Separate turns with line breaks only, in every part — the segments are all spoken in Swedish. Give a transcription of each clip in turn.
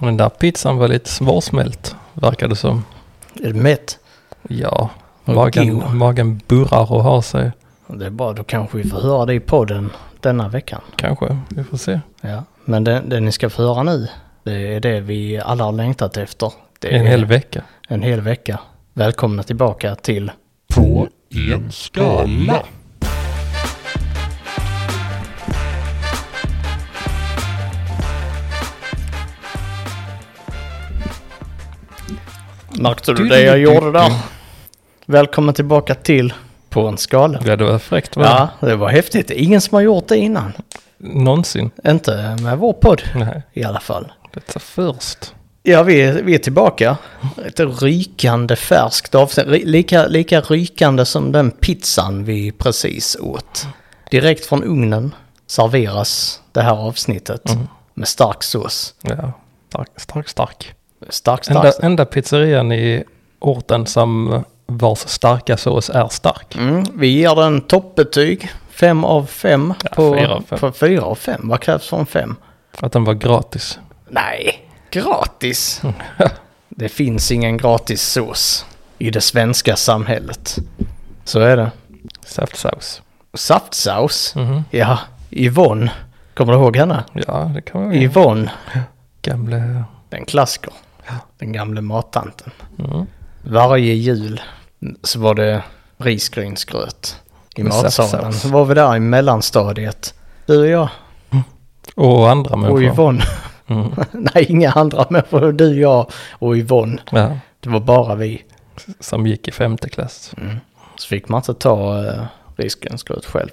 Den där pizzan var lite svårsmält, verkar det som.
Är du mätt?
Ja,
Och god.
magen, magen burrar och har sig.
Det är bra, då kanske vi får höra det i podden denna veckan.
Kanske, vi får se.
Ja. Men det, det ni ska få höra nu, det är det vi alla har längtat efter. Det
En
är
hel vecka.
en hel vecka. Välkomna tillbaka till
på en skala.
Märkte du det jag gjorde där? Välkommen tillbaka till På en skala.
Ja, det var fräckt va?
Ja, det var häftigt. Ingen som har gjort det innan.
Någonsin.
Inte med vår podd
Nej,
i alla fall.
detta först.
Ja, vi, vi är tillbaka. Ett rykande färskt avsnitt. Ry- Lika, lika rykande som den pizzan vi precis åt. Direkt från ugnen serveras det här avsnittet
Mm.
med stark sås.
Ja, stark, stark. stark.
Stark, stark.
Enda, enda pizzerian i orten som vars starka sås är stark.
Mm, vi ger den toppbetyg. Fem av fem på,
fyra av fem.
på fyra av fem. Vad krävs för en fem?
Att den var gratis.
Nej, gratis. det finns ingen gratis sås i det svenska samhället. Så är det.
Saftsaus.
Saftsaus?
Mhm.
Ja, Yvonne. Kommer du ihåg henne?
Ja, det kan man ju.
Yvonne,
Gamle...
den klassiker. Den gamle mattanten.
Mm.
Varje jul så var det risgrynsgröt i
Med
matsalen.
saftsaus.
Så var vi där i mellanstadiet. Du och jag
Och andra
och
människor.
Yvonne.
Mm.
Nej, inga andra människor. Du, jag och Yvonne.
Ja,
Det var bara vi.
som gick i femte klass.
Mm. Så fick man inte ta eh, risgrynsgröt själv.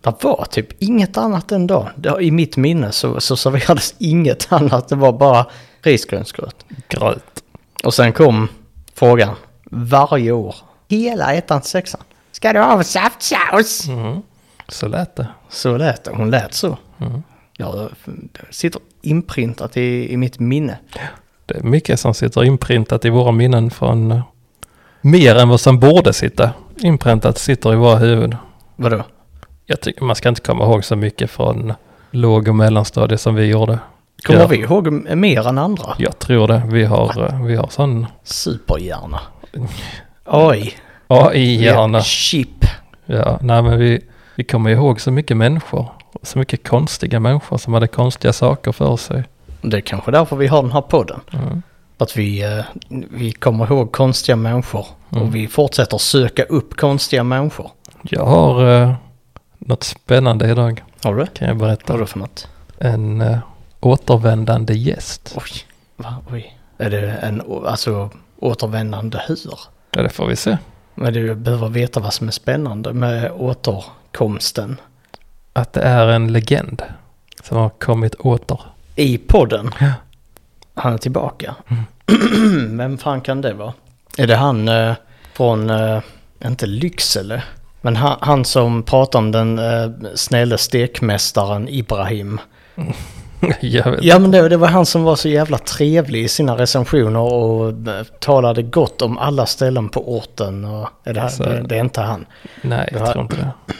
Det var typ inget annat den dagen. Det, I mitt minne så, så serverades inget annat. Det var bara risgrynsgröt.
Gröt.
Och sen kom frågan varje år. Hela ettan till sexan. Ska du ha saftsaus?
Så lät det.
Mm. Så lät det. Hon lät så. Ja, det sitter inprintat i, i mitt minne.
Det är mycket som sitter inprintat i våra minnen från... eh, Mer än vad som borde sitta. Inpräntat sitter i våra huvud.
Vadå?
Jag tycker man ska inte komma ihåg så mycket från låg och mellanstadiet som vi gjorde.
Kommer
Ja.
vi ihåg m- mer än andra?
Jag tror det. Vi har, eh, vi har sån
Superhjärna. Oj.
AI-hjärna.
Chip.
Ja, nej men vi, vi kommer ihåg så mycket människor. Så mycket konstiga människor som hade konstiga saker för sig.
Det är kanske därför vi har den här podden.
Mm.
Att vi, eh, vi kommer ihåg konstiga människor och vi fortsätter söka upp konstiga människor.
Jag har eh, något spännande idag
Har du det?
kan jag berätta.
Vad är det för något?
En eh, återvändande gäst.
Oj, va? Oj. Är det en å- alltså, återvändande hur?
Ja, det får vi se.
Men du behöver veta vad som är spännande med återkomsten
Att det är en legend som har kommit åter.
i podden.
Ja.
Han är tillbaka. Vem fan kan det vara? Är det han eh, från, eh, inte Lycksele, men han, han som pratar om den eh, snälle stekmästaren Ibrahim.
jag vet.
Ja men det, det var han som var så jävla trevlig i sina recensioner och eh, talade gott om alla ställen på orten. Och, är det, här,
Alltså-
det, det är inte han.
Nej,
Det
jag
här-
tror inte det.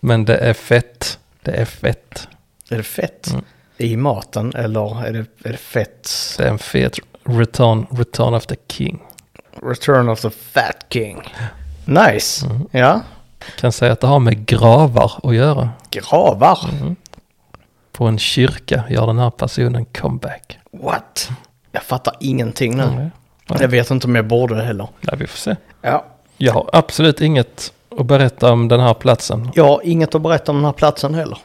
Men det är fett. Det är fett.
Är det fett
Mm.
i maten eller är det, är det fett?
Det är en fet return, return of the king.
Return of the Fat King. Nice,
Mm.
ja.
Kan säga att det har med gravar att göra.
Gravar.
På en kyrka gör den här personen comeback.
What? Jag fattar ingenting nu.
Mm.
Jag vet inte om jag borde det heller.
Ja, vi får se.
Ja.
Jag har absolut inget att berätta om den här platsen.
Jag har inget att berätta om den här platsen heller.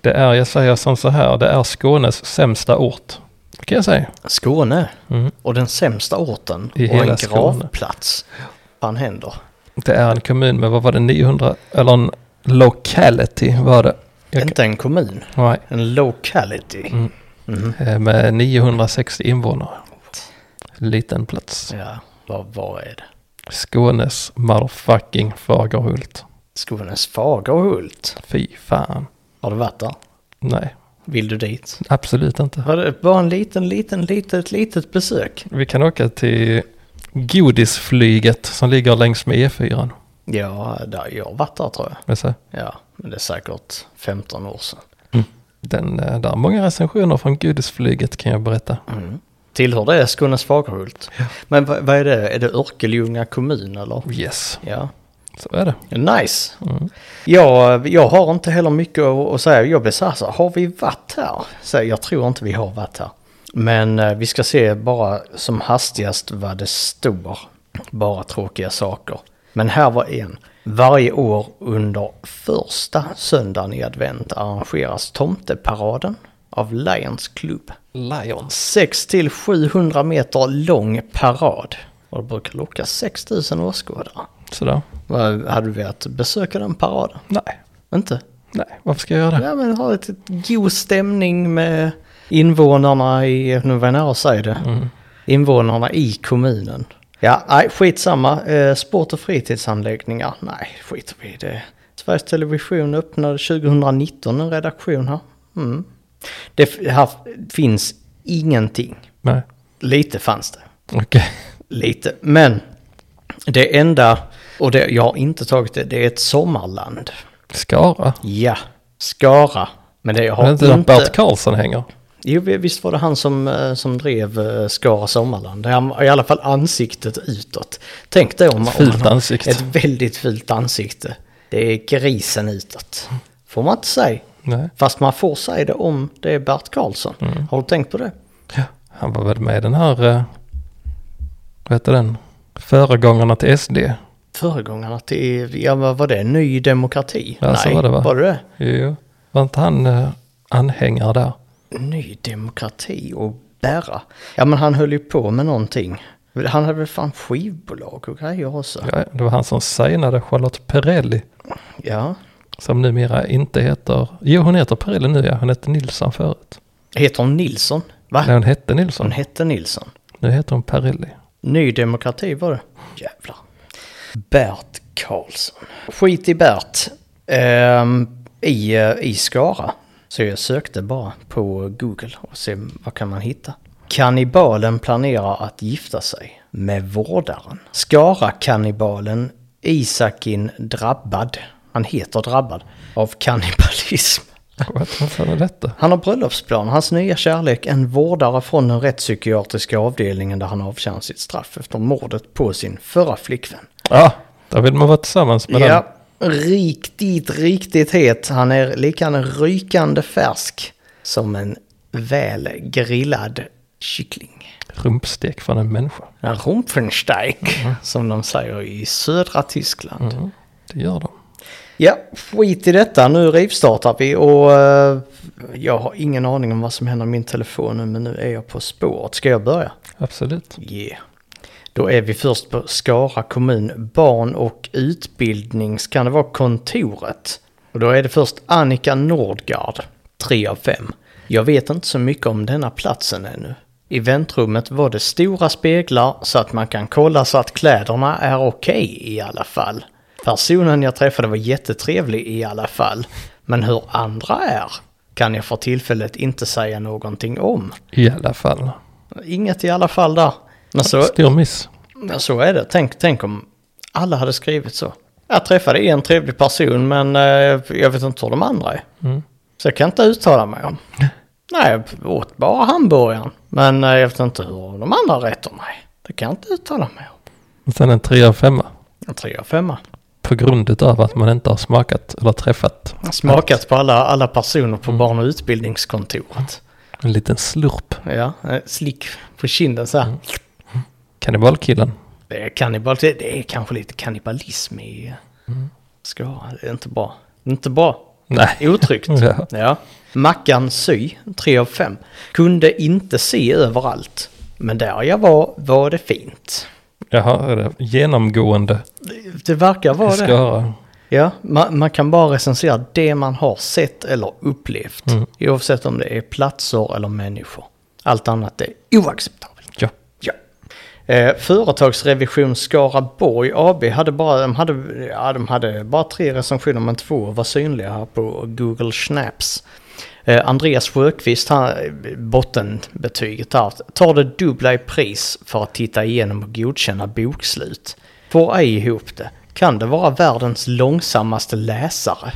Det är, jag säger som så här, det är Skånes sämsta ort. Det kan jag säga.
Skåne
Mm.
och den sämsta orten
I
och
hela
en
Skåne.
gravplats. Fan händer?
Det är en kommun med, vad var det, 900, eller en locality var det. Jag kan,
Inte en kommun,
nej,
en locality. Mhm.
eh, med 960 invånare. Liten plats.
Ja, vad, vad är det?
Skånes motherfucking Fagerhult.
Skånes Fagerhult.
Fy fan.
Har du varit där?
Nej,
Vill du dit?
absolut inte.
Var det bara en liten, liten, litet, litet besök?
Vi kan åka till godisflyget som ligger längs med E4.
Ja, där, jag har varit där tror jag.
Alltså,
Ja, men det är säkert 15 år sedan.
Den, eh, där är många recensioner från Gudisflyget kan jag berätta.
Tillhör det Skånes Fagerhult? Men vad, vad är det? Är det Örkelljunga kommun eller?
Yes,
Ja,
så är det.
nice.
Mm.
Jag, jag har inte heller mycket att att säga. Jag blir så här, så här, har vi varit här? Så här, jag tror inte vi har varit här. Men eh, vi ska se bara som hastigast vad det står. Bara tråkiga saker. Men här var en. Varje år under första söndagen i advent arrangeras tomteparaden av Lions Club.
Lions.
6 till 700 meter lång parad. Och det brukar locka 6000 åskådare.
Sådär.
Vad Hade du velat besöka den paraden?
Nej,
Inte?
nej, varför ska jag göra det?
Ja men ha lite god stämning med invånarna i, nu var jag nära att säga det, invånarna i kommunen. Ja, nej, skitsamma. Eh, sport och fritidsanläggningar, nej, skiter vi i det. Sveriges Television öppnade 2019 en redaktion här. Mm. Det f- här finns ingenting.
Nej,
Lite fanns det
okej.
lite. Men det enda, och det, jag har inte tagit det, det är ett sommarland.
Skara.
Ja, Skara. Men det jag
Är det
har
inte där
inte...
Bert Karlsson hänger?
Jo, vi- visst var det han som, eh, som drev eh, Skara sommarland. Han, I alla fall ansiktet utåt. Tänk dig om
Ett fult
om han-
ansikte.
Ett väldigt fult ansikte. Det är grisen utåt. Får man inte säga.
Nej.
Fast man får säga det om det är Bert Karlsson.
Mm.
Har du tänkt på det?
Ja, han var väl med i den här, eh, vad heter den, föregångarna till SD.
Föregångarna till, ja vad var det, Ny Demokrati?
Ja, så var det, va?
var det det?
Jo, var inte han eh, anhängare där?
Ny demokrati och bära. Ja men han höll ju på med någonting. Han hade väl fan skivbolag och grejer också. Ja.
Ja, det var han som signade Charlotte Perrelli, som numera inte heter, jo hon heter Perrelli nu ja, hon hette Nilsson förut.
Heter hon Nilsson? Va?
Nej, hon hette
Hon
Nilsson,
hette Nilsson.
nu heter hon Perrelli.
Ny demokrati var det. Jävlar. Bert Karlsson. Skit i Bert. Ehm, i, eh, I Skara. Så jag sökte bara på Google och se vad kan man hitta. Kannibalen planerar att gifta sig med vårdaren. Skara-kannibalen Isakin drabbad. Han heter drabbad av kannibalism.
Vad vad fan är detta?
Han har bröllopsplan. Hans nya kärlek, en vårdare från den rättspsykiatriska avdelningen där han avtjänar sitt straff efter mordet på sin förra flickvän.
Ja, där vill man vara tillsammans med den.
Ja, riktigt, riktigt het. Han är lika rykande färsk som en väl grillad kyckling.
Rumpstek från en människa.
En Rumpfensteig, som de säger i södra Tyskland.
Mm, det gör de.
Ja, skit i detta. Nu rivstartar vi och eh, jag har ingen aning om vad som händer med min telefon nu, men nu är jag på spåret. Ska jag börja?
Absolut.
Yeah. Då är vi först på Skara kommun, barn och utbildnings, kan det vara kontoret? Och då är det först Annika Nordgard, 3 av 5. Jag vet inte så mycket om denna platsen ännu. I väntrummet var det stora speglar så att man kan kolla så att kläderna är okej i alla fall. Personen jag träffade var jättetrevlig i alla fall. Men hur andra är kan jag för tillfället inte säga någonting om.
I alla fall.
Inget i alla fall där. Men så,
Stor miss.
Ja, så är det. Tänk, tänk om alla hade skrivit så. Jag träffade en trevlig person men eh, jag vet inte hur de andra är. Så jag kan inte uttala mig om. Nej, jag åt bara hamburgaren. Men eh, jag vet inte hur de andra rätter mig. Det kan jag inte uttala mig om.
Och sen en 3 av 5
En trea, femma.
På grund av att man inte har smakat eller träffat
Smakat på alla, alla personer på barn och utbildningskontoret.
en liten slurp.
Ja, eh, slick på kinden så här.
Kannibalkillen.
Det är, kannibal, det det är kanske lite kannibalism i mm. Skara. Det är inte bra. Inte bra.
Nej.
Otryggt.
Ja.
ja. Mackan Sy, 3 av 5. Kunde inte se överallt. Men där jag var var det fint.
Jaha, är det genomgående
Det, det verkar
i
vara det.
Skara?
Ja, man, man kan bara recensera det man har sett eller upplevt. Oavsett om det är platser eller människor. Allt annat är oacceptabelt.
Ja.
Ja. Eh, företagsrevision Skaraborg AB hade bara, de hade, ja, de hade bara tre recensioner men två var synliga här på Google Snaps. Eh, Andreas Sjöqvist, han, bottenbetyget här, tar det dubbla i pris för att titta igenom och godkänna bokslut. Får ej ihop det. Kan det vara världens långsammaste läsare?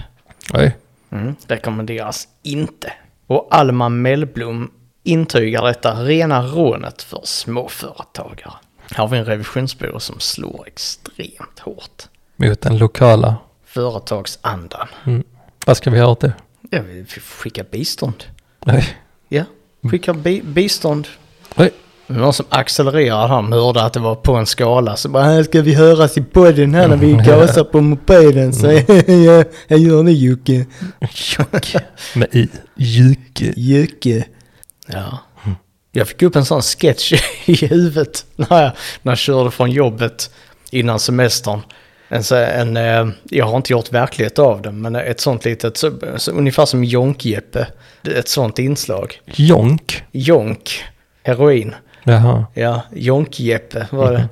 Oj.
Mm, rekommenderas inte. Och Alma Mellblom intygar detta rena rånet för småföretagare. Här har vi en revisionsbyrå som slår extremt hårt.
Mot den lokala.
Företagsandan.
Mm. Vad ska vi göra åt det?
Ja, vi får skicka bistånd.
Nej.
Ja, skicka bi- bistånd.
Nej.
Det var Någon som accelererade här och hörde att det var på en skala. Så bara, här ska vi höras i podden här när vi gasar på mopeden. Så jag, jag gör det Jocke.
Med i. Jyke.
Jocke. Ja. Jag fick upp en sån sketch i huvudet när jag, när jag körde från jobbet innan semestern. En, så- en, eh, jag har inte gjort verklighet av den, men ett sånt litet, så, så, ungefär som Jonk-Jeppe. Ett sånt inslag.
Jonk.
Jonk, heroin.
Jaha.
Ja, Jonk-Jeppe var det.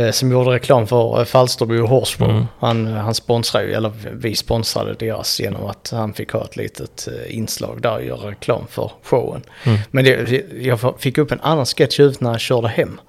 Eh, Som gjorde reklam för eh, Falsterbo och Horsbo. Han, eh, han sponsrade ju, eller vi sponsrade deras genom att han fick ha ett litet eh, inslag där och göra reklam för showen. Men det, jag fick upp en annan sketch ut när jag körde hem.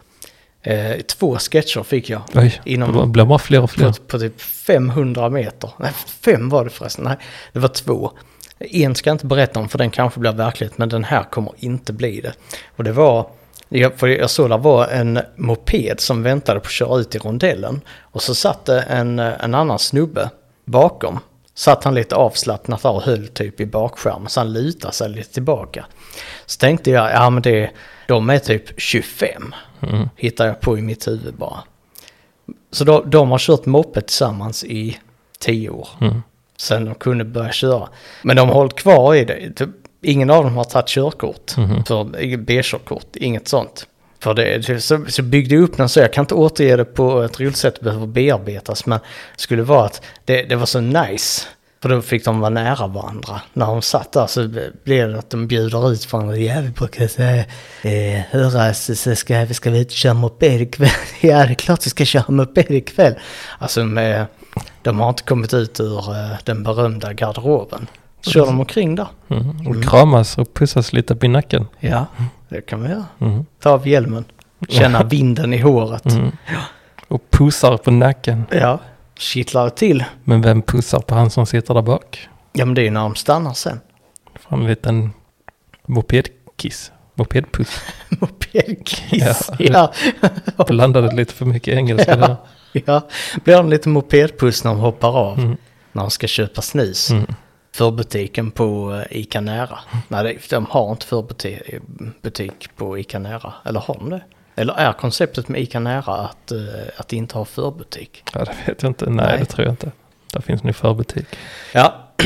Eh, Två sketcher fick jag.
Oj.
Inom-
Det blir bara fler och
På,
fler.
på typ 500 meter. Nej, fem var det förresten. Nej, det var två. En ska jag inte berätta om för den kanske blir verklighet, men den här kommer inte bli det. Och det var, jag, för jag såg där var en moped som väntade på att köra ut i rondellen. Och så satt det en, en annan snubbe bakom. Satt han lite avslappnat där och höll typ i bakskärmen, så han lutade sig lite tillbaka. Så tänkte jag, ja men det, de är typ 25,
Mm.
hittar jag på i mitt huvud bara. Så de, de har kört moppe tillsammans i tio år. Sen de kunde börja köra. Men de har hållit kvar i det. Typ Ingen av dem har tagit körkort. För B-körkort, inget sånt. För det, så, så byggde jag upp den så, jag kan inte återge det på ett roligt sätt, det behöver bearbetas. Men det skulle vara att det, det var så nice. För då fick de vara nära varandra. När de satt där så blev det att de bjuder ut varandra. Ja, vi brukar säga, eh, höras, så ska, ska vi ut och köra moped ikväll? ja, det är klart vi ska köra moped ikväll. Alltså, med, de har inte kommit ut ur eh, den berömda garderoben. Så kör de omkring där.
Mm. Och kramas och pussas lite på nacken.
Ja, det kan vi göra.
Mm.
Ta av hjälmen, känna vinden i håret.
Och pussar på nacken.
Ja, kittlar det till.
Men vem pussar på han som sitter där bak?
Ja, men det är ju när de stannar sen.
Får en liten mopedkiss. Mopedpuss.
Mopedkiss.
Ja.
Ja.
Blandade lite för mycket engelska där.
Ja, blir de lite mopedpuss när de hoppar av.
Mm.
När de ska köpa snus. Förbutiken på eh, Ica Nära. Nej, det- de har inte förbutik butik på Ica Nära. Eller har de det? Eller är konceptet med Ica Nära att, eh, att inte ha förbutik?
Ja, det vet jag inte. Nej,
Nej.
det tror jag inte. Där finns nu förbutik.
Ja,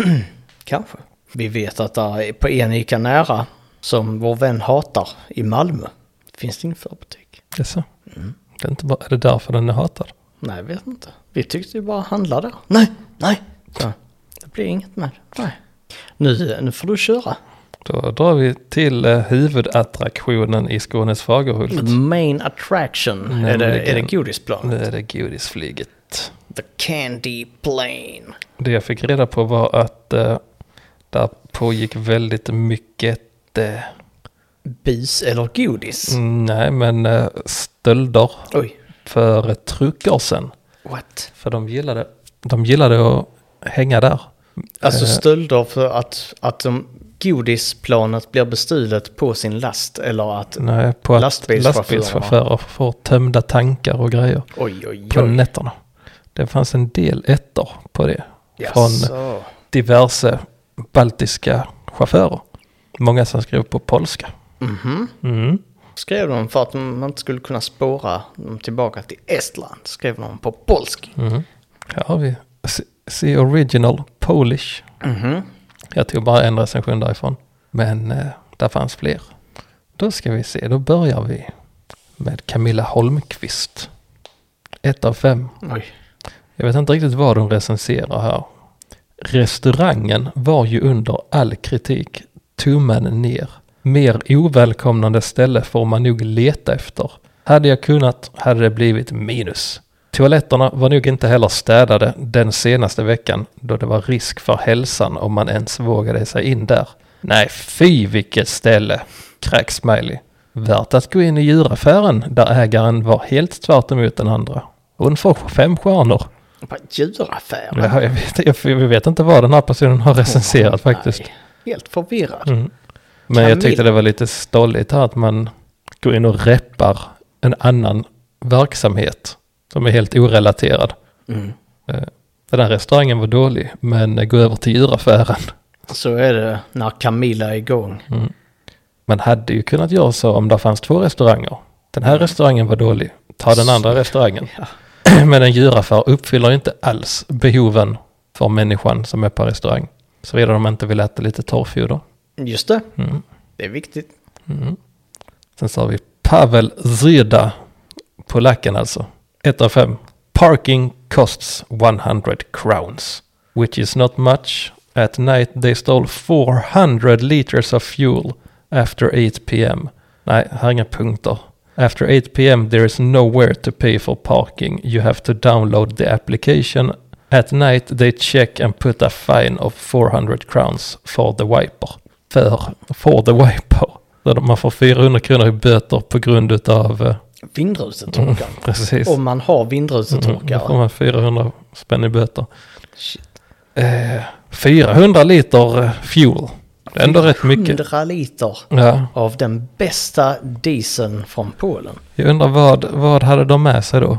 kanske. Vi vet att där är- på en Ica Nära, som vår vän hatar, i Malmö, finns det ingen förbutik.
Jaså?
Mm.
Det är inte bara, är det därför den är hatad?
Nej, jag vet inte. Vi tyckte ju bara handla där. Nej, nej. Så, det blir inget med det. Nej. Nu, nu får du köra.
Då drar vi till eh, huvudattraktionen i Skånes Fagerhult.
Main attraction. Är det, Mm. är det
Nämligen.
godisplanet?
Nu är det godisflyget.
The candy plane.
Det jag fick reda på var att eh, där pågick väldigt mycket, eh,
Bus eller godis?
nej men eh, stölder
Oj,
för truckersen.
what?
För de gillade, de gillade att hänga där.
Alltså
Eh.
stölder för att, att de godisplanet blir bestulet på sin last eller att...
Nej, på att
Lastbilschaufförerna.
lastbilschaufförer får tömda tankar och grejer
Oj, oj,
på
oj.
nätterna. Det fanns en del ettor på det. Från
Jaså.
diverse baltiska chaufförer. Många som skrev på polska.
Mhm.
Mm.
Skrev de för att man inte skulle kunna spåra dem tillbaka till Estland. Skrev de på polski.
Mm. Här har vi S- See Original Polish.
Mhm.
Jag tog bara en recension därifrån. Men eh, där fanns fler. Då ska vi se, då börjar vi med Camilla Holmqvist. Ett av fem.
Oj.
Jag vet inte riktigt vad de recenserar här. Restaurangen var ju under all kritik. Tummen ner. Mer ovälkomnande ställe får man nog leta efter. Hade jag kunnat hade det blivit minus. Toaletterna var nog inte heller städade den senaste veckan då det var risk för hälsan om man ens vågade sig in där. Nej, fy vilket ställe! Kräks Smiley. Värt att gå in i djuraffären där ägaren var helt tvärt emot den andra. Hon får fem stjärnor.
Vad Djuraffären.
Ja, jag, vet, jag, jag vet inte vad den här personen har recenserat faktiskt.
Nej, helt förvirrad.
Mm. Men jag
Kamil.
tyckte det var lite stolligt här att man går in och reppar en annan verksamhet som är helt orelaterad. Eh,
Mm.
Den här restaurangen var dålig, men gå över till djuraffären.
Så är det när Camilla är igång.
Mm. Man hade ju kunnat göra så om det fanns två restauranger. Den här restaurangen var dålig, ta den andra restaurangen.
Ja.
Men en djuraffär uppfyller inte alls behoven för människan som är på restaurang. Såvida de inte vill äta lite torrfoder.
Just det,
Mm.
det är viktigt.
Mm. Sen så har vi Pavel Zyda, polacken alltså. 1 av 5. Parking costs 100 crowns, which is not much. At night they stole 400 liters of fuel after 8 pm. Nej, här är inga punkter. After 8 pm there is nowhere to pay for parking. You have to download the application. At night they check and put a fine of 400 crowns for the wiper. För, for the wiper. Där man får 400 kronor i böter på grund utav, eh,
Vindrutetorkaren.
precis.
Om man har vindrutetorkare.
Mm, Då får man 400 spänn i böter.
Shit.
Eh, 400 liter eh, fuel. Det är ändå rätt mycket.
100 liter
Ja,
av den bästa dieseln från Polen.
jag undrar vad, vad hade de med sig då?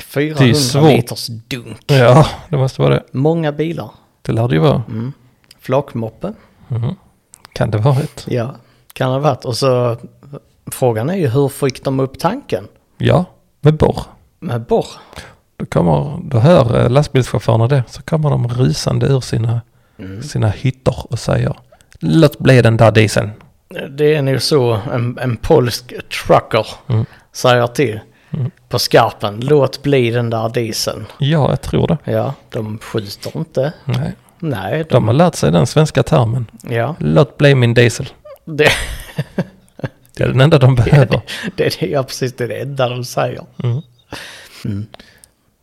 400
svårt.
liters dunk.
Ja, det måste vara det.
Många bilar.
Det lär det ju vara.
Mm. Flakmoppe.
Mm. Kan det varit?
Ja, kan det ha varit. Och så frågan är ju hur fick de upp tanken?
Ja, med borr.
Med borr.
Då, kommer, då hör eh, lastbilschaufförerna det. Så kommer de rusande ur sina,
Mm.
sina hytter och säger Låt bli den där dieseln.
Det är nog så en, en polsk trucker säger till på skarpen. Låt bli den där dieseln.
Ja, jag tror det.
Ja, de skjuter inte.
Nej.
Nej, de,
De har lärt sig den svenska termen.
ja.
Låt bli min diesel.
Det,
Det är den enda de behöver.
det är det- ja, precis det är det enda de säger.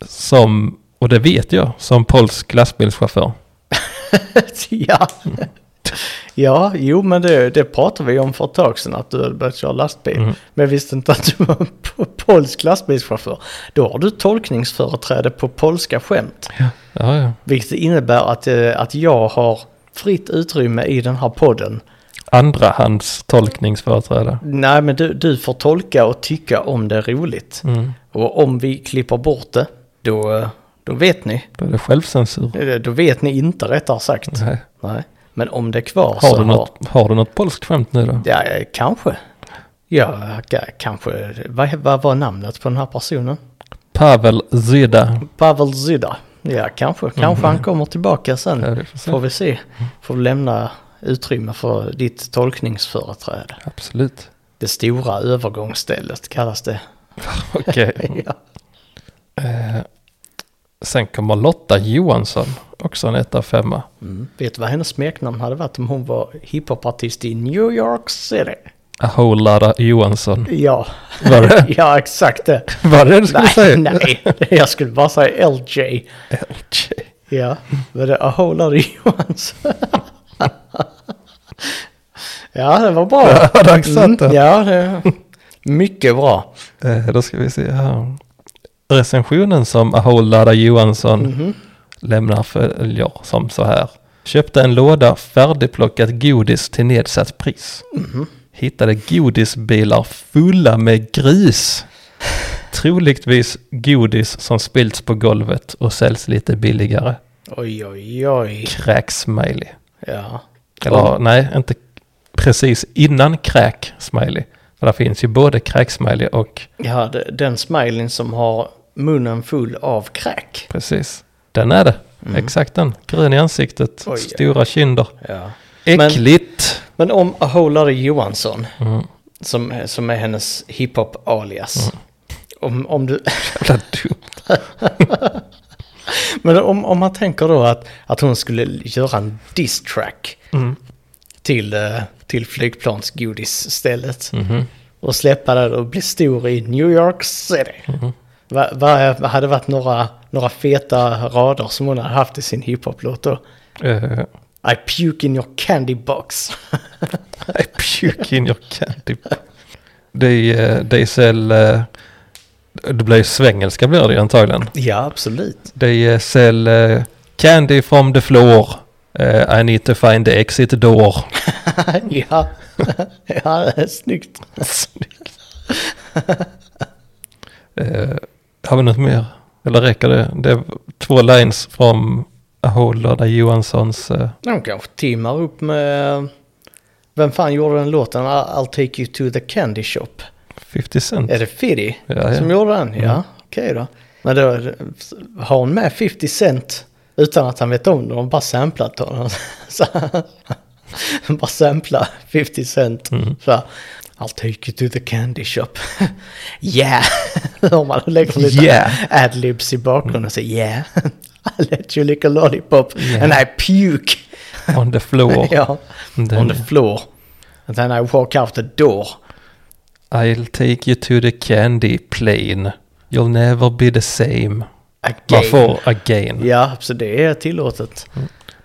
Som, och det vet jag, som polsk lastbilschaufför.
ja. ja, jo men det, det pratade vi om för ett tag sedan att du hade börjat köra lastbil. Men jag visste inte att du var en po- polsk lastbilschaufför. Då har du tolkningsföreträde på polska skämt.
Ja, ja.
Vilket innebär att, eh, att jag har fritt utrymme i den här podden.
Andrahands tolkningsföreträde.
Nej men du, du får tolka och tycka om det är roligt.
Mm.
Och om vi klipper bort det, då, eh, då vet ni.
Då är det självcensur.
Eh, Då vet ni inte rättare sagt.
Nej.
Nej. Men om det är kvar så
Har, du något, har du något polskt skämt nu då?
Ja, eh, kanske. Ja, ka- kanske. Vad, vad var namnet på den här personen?
Pavel Zyda.
Pavel Zyda. Ja, kanske. Kanske han kommer tillbaka sen.
Mhm. Ja, vi får se.
Får vi se. Får vi lämna utrymme för ditt tolkningsföreträde.
Absolut.
Det stora övergångsstället kallas det.
Okej.
Ja.
Eh, Sen kommer Lotta Johansson. Också en etta femma.
Vet du vad hennes smeknamn hade varit om hon var hiphopartist i New York City?
A whole lotta Johansson.
Ja,
Var det
ja exakt det.
var det, du skulle
Nej,
säga?
nej, jag skulle bara säga LJ. Ja, men det är Aholar Johans. ja, det var bra. Mm,
Har du satt det?
ja, det mycket bra.
Eh, Då ska vi se här. Recensionen som Ahollada Johansson
Mhm.
lämnar följer som så här. Köpte en låda färdigplockat godis till nedsatt pris. Hittade godisbilar fulla med gris. Troligtvis godis som spillts på golvet och säljs lite billigare.
Oj, oj, oj.
Kräk-smiley.
Ja,
Eller nej, inte precis innan kräk-smiley. För där finns ju både kräk-smiley och
ja det, den smileyn som har munnen full av kräk.
Precis. Mm. Den är det. Exakt den. Grön i ansiktet.
Oj.
Stora kinder.
Ja.
Äckligt.
Men om Aholar Johansson,
Mm.
som, är- som är hennes hiphop-alias. Om, om du...
Jävla dumt.
Men om, om man tänker då att, att hon skulle göra en diss-track
Mm.
till, eh, till flygplansgodisstället
Mm-hmm.
och släppa det och bli stor i New York City. Vad va, vad hade varit några, några feta rader som hon hade haft i sin hiphop-låt då?
Eh,
I puke in your candy box.
I puke Eh, in your candy. Det är, Typ. eh, det är sälj... eh, Det blir ju svengelska blir det ju antagligen.
ja, absolut.
Det är sälj eh, candy from eh, the floor. Eh, I need to find the exit door.
ja. ja, det är snyggt.
Eh, har vi något mer? Eller räcker det? Det är två lines från Ahola där Johanssons... Eh,
De kanske timmar upp med... Vem fan gjorde den låten? I- I'll take you to the candy shop.
50 Cent.
Är det Fiddy
Ja, ja.
som gjorde den? Ja,
Mm.
okej då. Men då har hon med 50 Cent utan att han vet om det. De har bara samplat honom. Så, bara sampla 50 Cent.
Mm.
Så här, I'll take you to the candy shop. yeah! Om man lägger lite
Yeah.
adlibs i bakgrunden och säger yeah. I let you lick a lollipop
Yeah.
and I puke.
On the floor.
ja.
Den-
On the floor. And then I walk out the door.
I'll take you to the candy plane. You'll never be the same. Man
Again.
får again.
Ja, så det är tillåtet.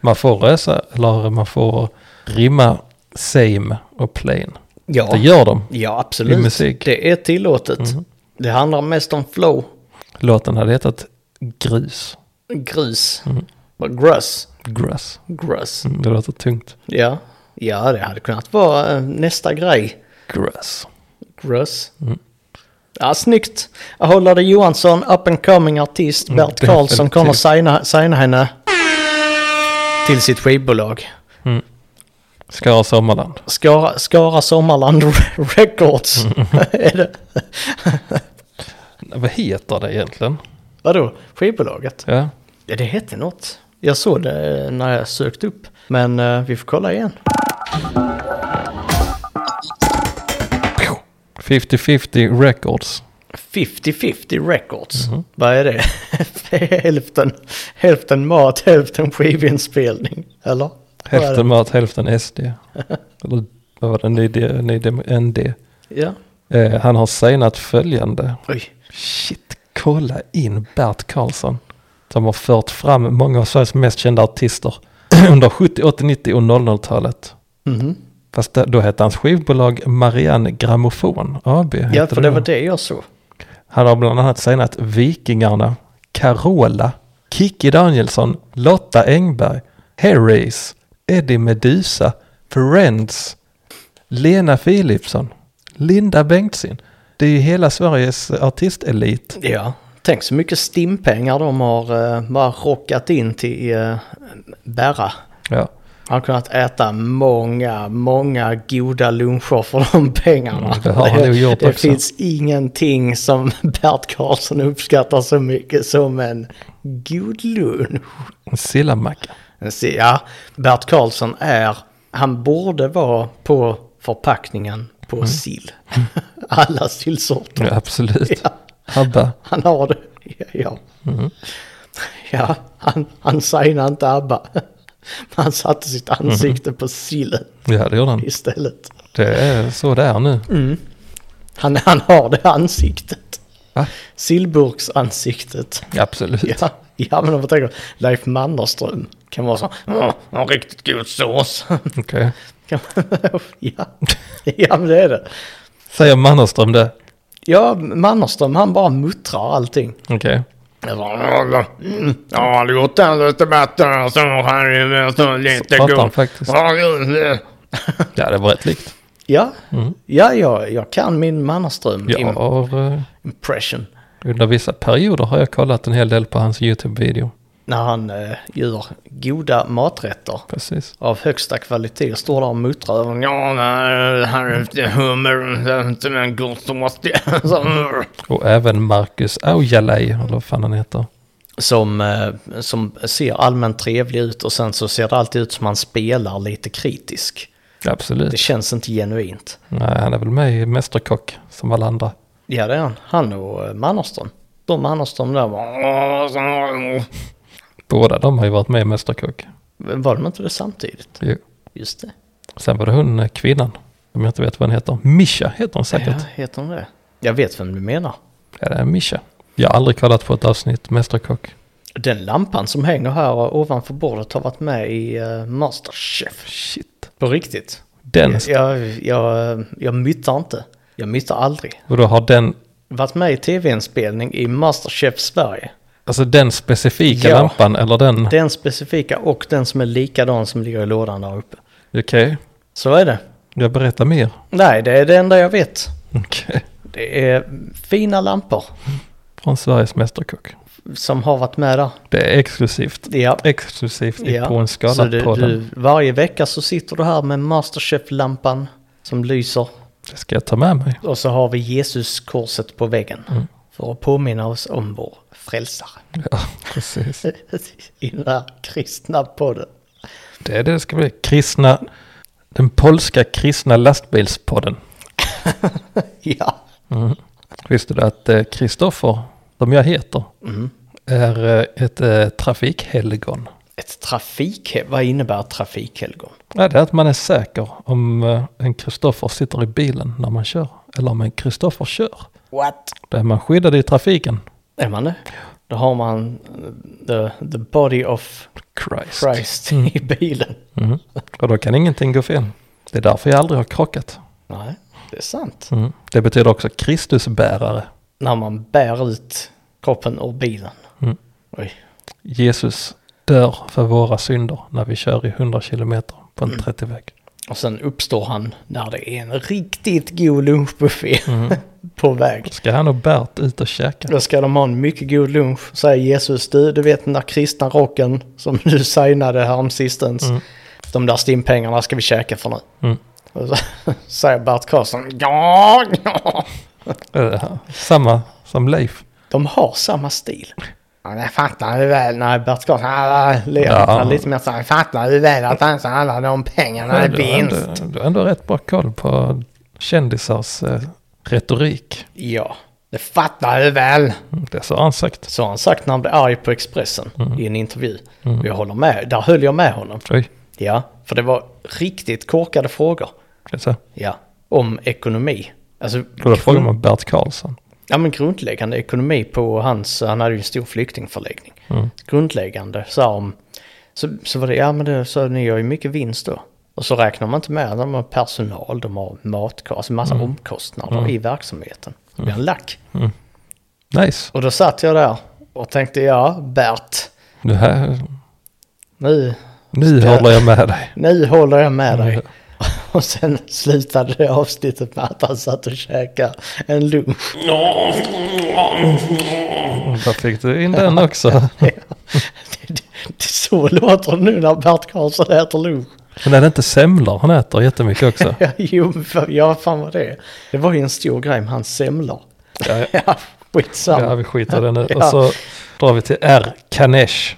Man får rösa, eller man får rimma same och plane.
Ja,
Det gör de.
ja
i
absolut.
musik. Mhm.
Det är tillåtet. Det handlar mest om flow,
Låten hade hetat Grus.
grus,
Mhm.
mm. gruss,
Grass.
gruss.
Mm, det låter tungt.
Ja. ja, det hade kunnat vara eh, nästa grej.
Grass.
Gruss.
Mm.
Ja, snyggt. Håller det Johansson, up and coming artist,
Mm,
Bert Karlsson
definitivt.
kommer signa, signa henne till sitt skivbolag.
Skara Sommarland.
Skara, Skara Sommarland Records. är det,
Vad heter det egentligen?
vadå, skivbolaget?
Ja.
Ja, det hette något. Jag såg det eh, när jag sökte upp. Men eh, vi får kolla igen.
50-50 Records.
50-50 records. Vad är det? hälften, hälften mat, hälften skivinspelning. Eller? Vad är det?
Hälften mat, hälften SD. Eller vad var det? Ny, D- ny D- ND.
Ja.
Eh, han har signat följande.
Oj.
Shit, kolla in Bert Karlsson. Som har fört fram många av Sveriges mest kända artister under 70, 80, 90 och 00-talet.
Mhm.
Fast det- då hette hans skivbolag Marianne Grammofon AB.
Ja,
hette
för det var det jag såg.
Han har bland annat signat Vikingarna, Carola, Kikki Danielsson, Lotta Engberg, Harrys, Eddie Medusa, Friends, Lena Philipsson, Linda Bengtzing. Det är ju hela Sveriges artistelit.
Ja. Tänk så mycket stimpengar de har eh, bara rockat in till uh, Berra.
Ja.
Han har kunnat äta många, många goda luncher för de pengarna.
Mm, det har han nog gjort
det
också.
finns ingenting som Bert Karlsson uppskattar så mycket som en god lunch.
En sillamacka.
Se, Ja, Bert Karlsson är, han borde vara på förpackningen på
Mm.
sill. Alla sillsorter.
Ja, absolut.
Ja,
Abba.
han har det. Ja, ja.
Mm.
ja han, han signade inte ABBA. Men han satte sitt ansikte på sillen
Ja, det gjorde han.
istället.
Det är så det är nu.
Mm. Han, han har det ansiktet.
Va?
Sillburksansiktet.
Absolut.
Ja, ja, men om man tänker Leif Mannerström kan vara så. "Åh, En riktigt god sås.
Okej.
Kan man- ja. ja, men det är det.
Säger Mannerström det?
Ja, Mannerström han bara muttrar allting.
Okej.
Jag bara, "Mm, Ja, det gjort den lite bättre så här är det så lite
Pratar han
god.
faktiskt.
Ja, god, eh."
Ja, det var rätt likt.
Ja, ja jag, jag kan min Mannerström
Jag har, eh,
impression.
under vissa perioder har jag kollat en hel del på hans YouTube-video.
När han eh, gör goda maträtter.
Precis.
av högsta kvalitet står där och muttrar över en- Ja, nej, här är det hummer, det är inte en god sås det." Så-
Och även Marcus Aujalay, eller vad fan han heter.
som, eh, som ser allmänt trevlig ut och sen så ser det alltid ut som han spelar lite kritisk. Det
Absolut.
känns inte genuint.
Nej, han är väl med i Mästerkock, som alla andra.
Ja, det är han. Han och eh, Mannerström. De Mannerström där var... "Ja, så-
Båda de har ju varit med i Mästerkock.
Var de inte det samtidigt?
Jo.
Just det.
Sen var det hon, eh, kvinnan, som jag inte vet vad hon heter. Mischa heter hon
Ja,
säkert.
heter de det? Jag vet vem du menar.
Ja, det är Mischa. Jag har aldrig kollat på ett avsnitt Mästerkock.
Den lampan som hänger här ovanför bordet har varit med i eh, Masterchef.
Shit.
På riktigt?
Den,
Jag, jag, jag myttar inte. Jag myttar aldrig.
och då har den,
Varit med i tv-inspelning i Masterchef Sverige.
Alltså den specifika
Ja.
lampan eller den?
Den specifika och den som är likadan som ligger i lådan där uppe.
Okej,
Så är det.
jag berättar mer.
Nej, det är det enda jag vet.
Okej.
Det är fina lampor
Från Sveriges Mästerkock.
som har varit med där.
Det är exklusivt.
Ja.
Exklusivt i
Ja,
på en
Så
skala
du,
på den.
du, varje vecka så sitter du här med Masterchef-lampan som lyser.
Det ska jag ta med mig.
Och så har vi Jesuskorset på väggen.
Mm.
För att påminna oss om vår frälsare.
Ja, precis.
I den här kristna podden.
Det är det det ska bli. Kristna, den polska kristna lastbilspodden. Mm.
Ja.
Visste du att eh, Kristoffer, som jag heter,
Mm.
är eh, ett eh, trafikhelgon?
Ett trafik... Vad innebär ett trafikhelgon?
Ja, det är att man är säker om eh, en Kristoffer sitter i bilen när man kör. Eller om en Kristoffer kör.
What?
Då är man skyddad i trafiken.
Är man det? Då har man eh, the, the body of
Christ.
Christ i bilen.
Mm. Och då kan ingenting gå fel. Det är därför jag aldrig har krockat.
Nej, det är sant.
Mm. Det betyder också Kristusbärare.
När man bär ut kroppen ur bilen.
Mm.
Oj.
Jesus dör för våra synder när vi kör i 100 kilometer på en
Mm.
30-väg.
Och sen uppstår han när det är en riktigt god lunchbuffé
Mhm.
på väg.
Ska han och Bert ut och käka?
Då ska de ha en mycket god lunch. Säger Jesus, du, du vet den där kristna rocken som du signade häromsistens. De där stimpengarna ska vi käka för nu.
Mm.
Och så säger Bert Karlsson, ja, ja.
Eh, Samma som Leif.
De har samma stil. Ja, jag fattar ju väl när Bert Karlsson, alla ler.
Ja.
Han är lite mer så här, jag fattar ju väl att han alla de pengarna är
Du har ändå,
vinst.
du har ändå rätt bra koll på kändisars eh, retorik.
Ja, det fattar du väl.
Mm, Det sa han sagt.
Så har han sagt när han blev arg på Expressen i en intervju. Och jag håller med, där höll jag med honom.
Oj,
Ja, för det var riktigt korkade frågor.
det är så.
Ja, om ekonomi. Alltså,
Och Då frågar man Bert Karlsson.
ja men grundläggande ekonomi på hans, han hade ju en stor flyktingförläggning. Grundläggande, så här om, så, så var det, ja men det, så ni gör ju mycket vinst då. Och så räknar man inte med att de har personal, de har matkostnader, alltså massa omkostnader i verksamheten. Det blir en lack.
Nice.
Och då satt jag där och tänkte, ja Bert,
Det här,
nu,
nu
Ska-
håller jag med dig.
nu håller jag med dig. Och sen slutade det avsnittet med att han satt och käkade en lunch.
Där fick du in den också.
Det, det, det så låter det nu när Bert Karlsson äter lunch.
Men är det inte semlor han äter jättemycket också?
Ja, jo, men fan- ja, fan vad det är. Det var ju en stor grej med hans semlor.
Ja,
Ja, skitsamma.
Ja, vi skiter i det nu. Och
Ja.
så drar vi till R. Kanesh.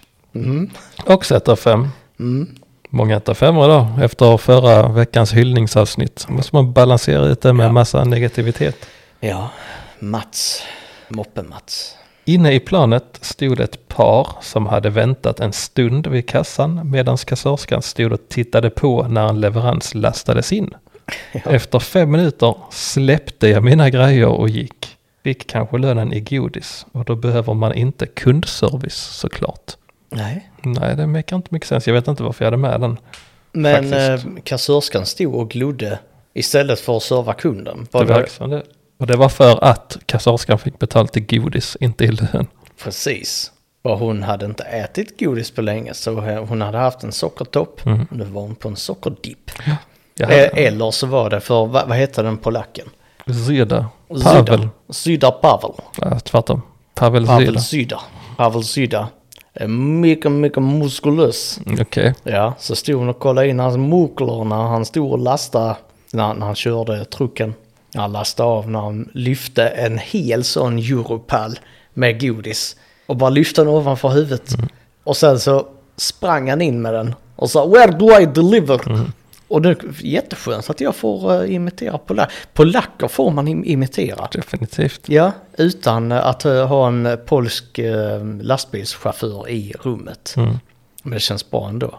Också 1 av 5.
Mm.
Många 1 av 5 då, efter förra veckans hyllningsavsnitt. Måste man balansera ut det med massa negativitet.
ja, Mats. Moppe-Mats.
Inne i planet stod ett par som hade väntat en stund vid kassan medan kassörskan stod och tittade på när en leverans lastades in. Efter fem minuter släppte jag mina grejer och gick. Fick kanske lönen i godis och då behöver man inte kundservice såklart.
Nej.
Nej, det mekar inte mycket sens. Jag vet inte varför jag hade med den.
Men eh,
Faktiskt.
kassörskan stod och glodde istället för att serva kunden. Var
Det var
det,
liksom det. Och det var för att kassörskan fick betalt i godis, inte i lön.
precis. Och hon hade inte ätit godis på länge så hon hade haft en sockertopp.
Mm.
Nu var hon på en sockerdipp.
Jag
Eh,
hade
Eller så var det för, vad, vad hette den polacken?
Eh, Zyda.
Zyda.
Pavel.
Zyda Pavel.
Ja, tvärtom. Pavel
Pavel
Zyda.
Zyda. Pavel Zyda. är Mycket, mycket muskulös.
Mm, Okej.
Ja, så stod hon och kollade in hans muskler när han stod och lastade, när, när han körde trucken. Han lastade av när han lyfte en hel sån europall med godis. Och bara lyfte den ovanför huvudet. Och sen så sprang han in med den och sa “Where do I deliver?” Och det är jätteskönt att jag får eh, imitera polack. Polacker får man im- imitera.
Definitivt.
Ja, utan eh, att eh, ha en eh, polsk eh, lastbilschaufför i rummet. Men det känns bra ändå.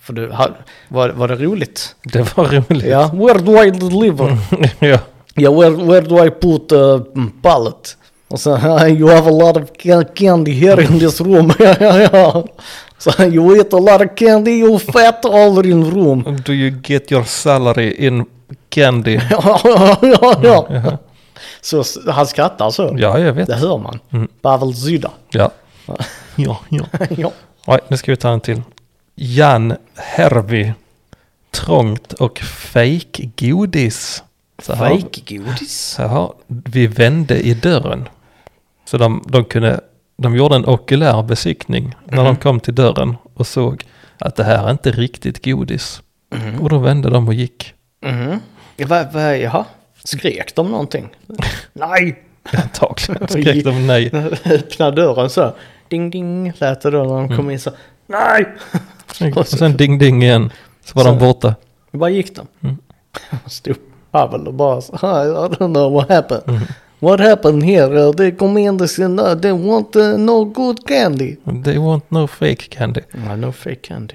För du, ha, var, var det roligt?
Det var roligt.
Ja, where do I deliver?
ja.
Ja, where, where do I put uh, pallet? Och sen, you have a lot of ca- candy here in this room. ja, ja, ja. So you eat a lot of candy, you fat all in room.
Do you get your salary in candy?
ja, ja, Mm, ja, ja. Mm. Så s- han skrattar så.
Ja, jag vet.
Det hör man. Pavel Zyda.
Ja. Ja, ja.
ja.
Nej, nu ska vi ta en till. Jan Hervey. Trångt och fake godis. Så här,
Fejkgodis.
Så här, vi vände i dörren. Så de, de kunde, de gjorde en okulär besiktning när de kom till dörren och såg att det här är inte riktigt godis. Och då vände de och gick.
Mhm. Va, va, jaha. Skrek de någonting? Nej!
Antagligen skrek de nej.
Öppna dörren så. Ding ding lät det då när de kom in så. Nej!
Och sen ding ding igen. Så var de
Så-
borta.
Vad gick de? Stod Pavel och bara så här, I don't know what happened. What happened here? Uh, They commanded and uh, they want uh, no good candy.
Mm. They want no fake candy. Mm.
Ja, no fake candy.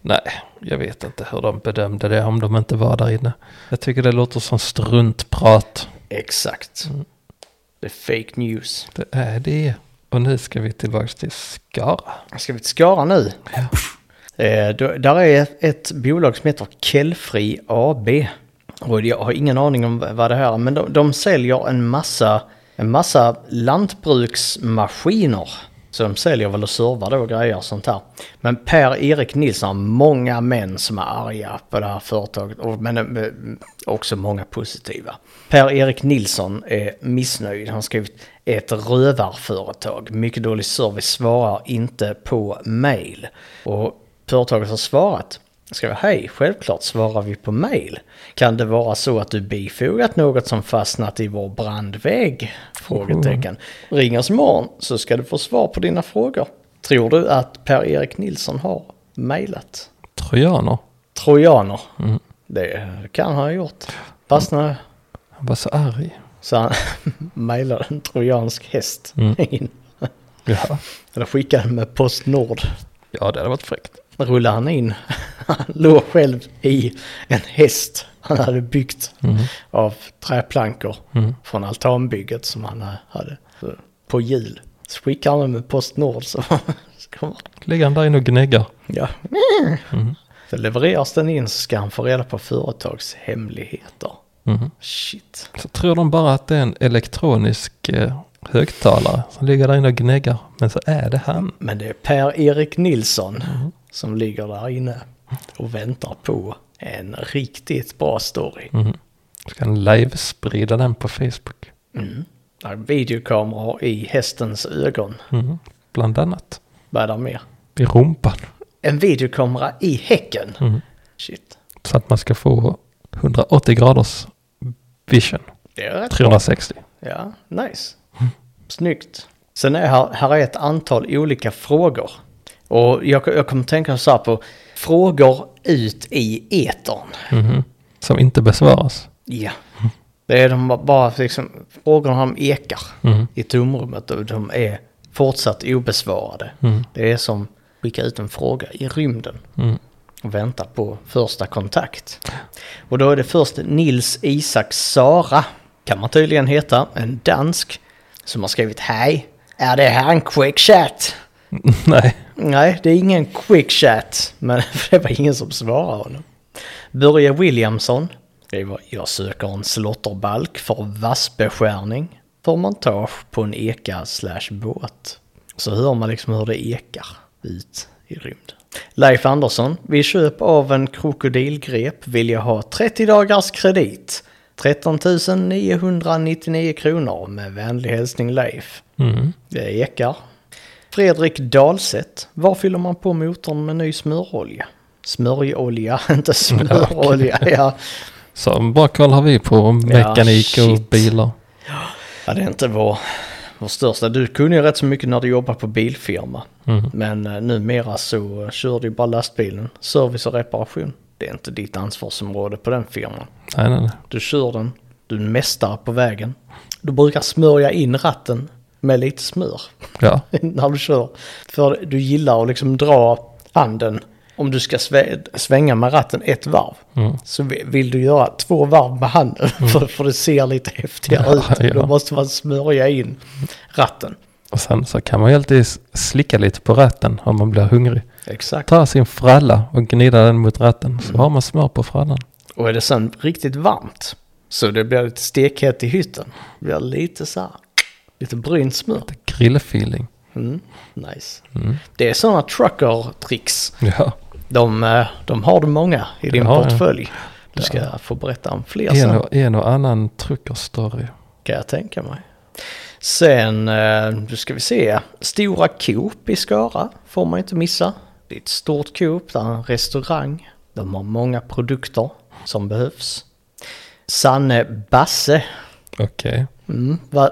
Nej, jag vet inte hur de bedömde det om de inte var där inne. Jag tycker det låter som struntprat.
Exakt. Det är fake news.
Det är det. Och nu ska vi tillbaks till Skara.
Ska vi till Skara nu? Eh, då, där är ett bolag som heter Källfri AB. Och jag har ingen aning om vad det här är, men de, de säljer en massa, en massa lantbruksmaskiner. Så de säljer väl och servar då och grejer och sånt här. Men Per-Erik Nilsson har många män som är arga på det här företaget. Och, men eh, också många positiva. Per-Erik Nilsson är missnöjd. Han har skrivit ett rövarföretag. Mycket dålig service svarar inte på mail. Och företaget har svarat. Skriver hej, självklart svarar vi på mail. Kan det vara så att du bifogat något som fastnat i vår brandvägg? Frågetecken. Ring oss imorgon så ska du få svar på dina frågor. Tror du att Per-Erik Nilsson har mailat?
Trojaner.
Trojaner. Det kan han ha gjort. Fastnade
Han var så arg.
så han mejlade en trojansk häst in.
Ja,
Eller skickade den med Postnord.
ja det hade varit fräckt.
Rullade han in. Han låg själv i en häst han hade byggt av träplankor från altanbygget som han hade på hjul. Så skickade han den med Postnord så så kommer
Ligger han där inne och gnäggar.
Ja. Så levereras den in så ska han få reda på företags hemligheter. Shit.
Så tror de bara att det är en elektronisk eh, högtalare som ligger där inne och gnäggar. Men så är det han.
Men det är Per-Erik Nilsson som ligger där inne och väntar på en riktigt bra story.
Ska han livesprida den på Facebook.
Mm. Där är videokameror i hästens ögon.
Mm. Bland annat.
Vad är det mer?
I rumpan.
En videokamera i häcken. Shit.
Så att man ska få 180 graders vision.
Det är rätt
360.
Ja, nice. Snyggt. Sen är här, här är ett antal olika frågor. Och jag, jag kommer tänka så här på frågor ut i etern.
Mhm. Som inte besvaras.
Ja. Det är de bara liksom, frågorna de ekar
Mm.
i tomrummet och de är fortsatt obesvarade. Det är som skicka ut en fråga i rymden
Mm.
och vänta på första kontakt. Och då är det först Nils Isak Sara, kan man tydligen heta, en dansk, som har skrivit Hej, är det här en quick chat?
Nej.
Nej, det är ingen quick chat, men det var ingen som svarade honom. Börje Williamson skriver Jag söker en slotterbalk för vassbeskärning för montage på en eka slash båt. Så hör man liksom hur det ekar ut i rymden. Leif Andersson, vid köp av en krokodilgrep vill jag ha 30 dagars kredit. 13 999 kronor med vänlig hälsning Leif.
Mm.
Det ekar. Fredrik Dahlseth. Var fyller man på motorn med ny smörolja? Smörjolja, inte smörolja. Ja.
Så bara kollar vi på mekanik och
shit.
bilar.
ja, det är inte vår, vår största. Du kunde ju rätt så mycket när du jobbade på bilfirma. Men eh, numera så kör du ju bara lastbilen. Service och reparation. Det är inte ditt ansvarsområde på den firman.
Nej, nej, nej.
Du kör den, du är en mästare på vägen. Du brukar smörja in ratten med lite smör.
Ja.
när du kör. För du gillar att liksom dra handen. Om du ska svä- svänga med ratten ett varv
Mm.
så vi- vill du göra två varv med handen för, för det ser lite häftigare
Ja,
ut.
ja.
Då måste man smörja in ratten.
Och sen så kan man ju alltid slicka lite på ratten om man blir hungrig.
Exakt.
Ta sin fralla och gnida den mot ratten så har man smör på frallan.
Och är det sen riktigt varmt så det blir lite stekhett i hytten. Det blir lite så här, lite brynt smör.
Grillfeeling.
Mm. Nice.
Mm.
Det är sådana trucker-tricks.
Ja.
De, eh, de har du många i din
Ja, ja.
portfölj.
Ja.
Du ska få berätta om fler
En
sen.
och, en och annan truckerstory.
Kan jag tänka mig. Sen, eh, nu ska vi se. Stora Coop i Skara får man inte missa. Det är ett stort Coop, det är en restaurang. De har många produkter som behövs. Sanne Basse.
Okej.
Mm, va,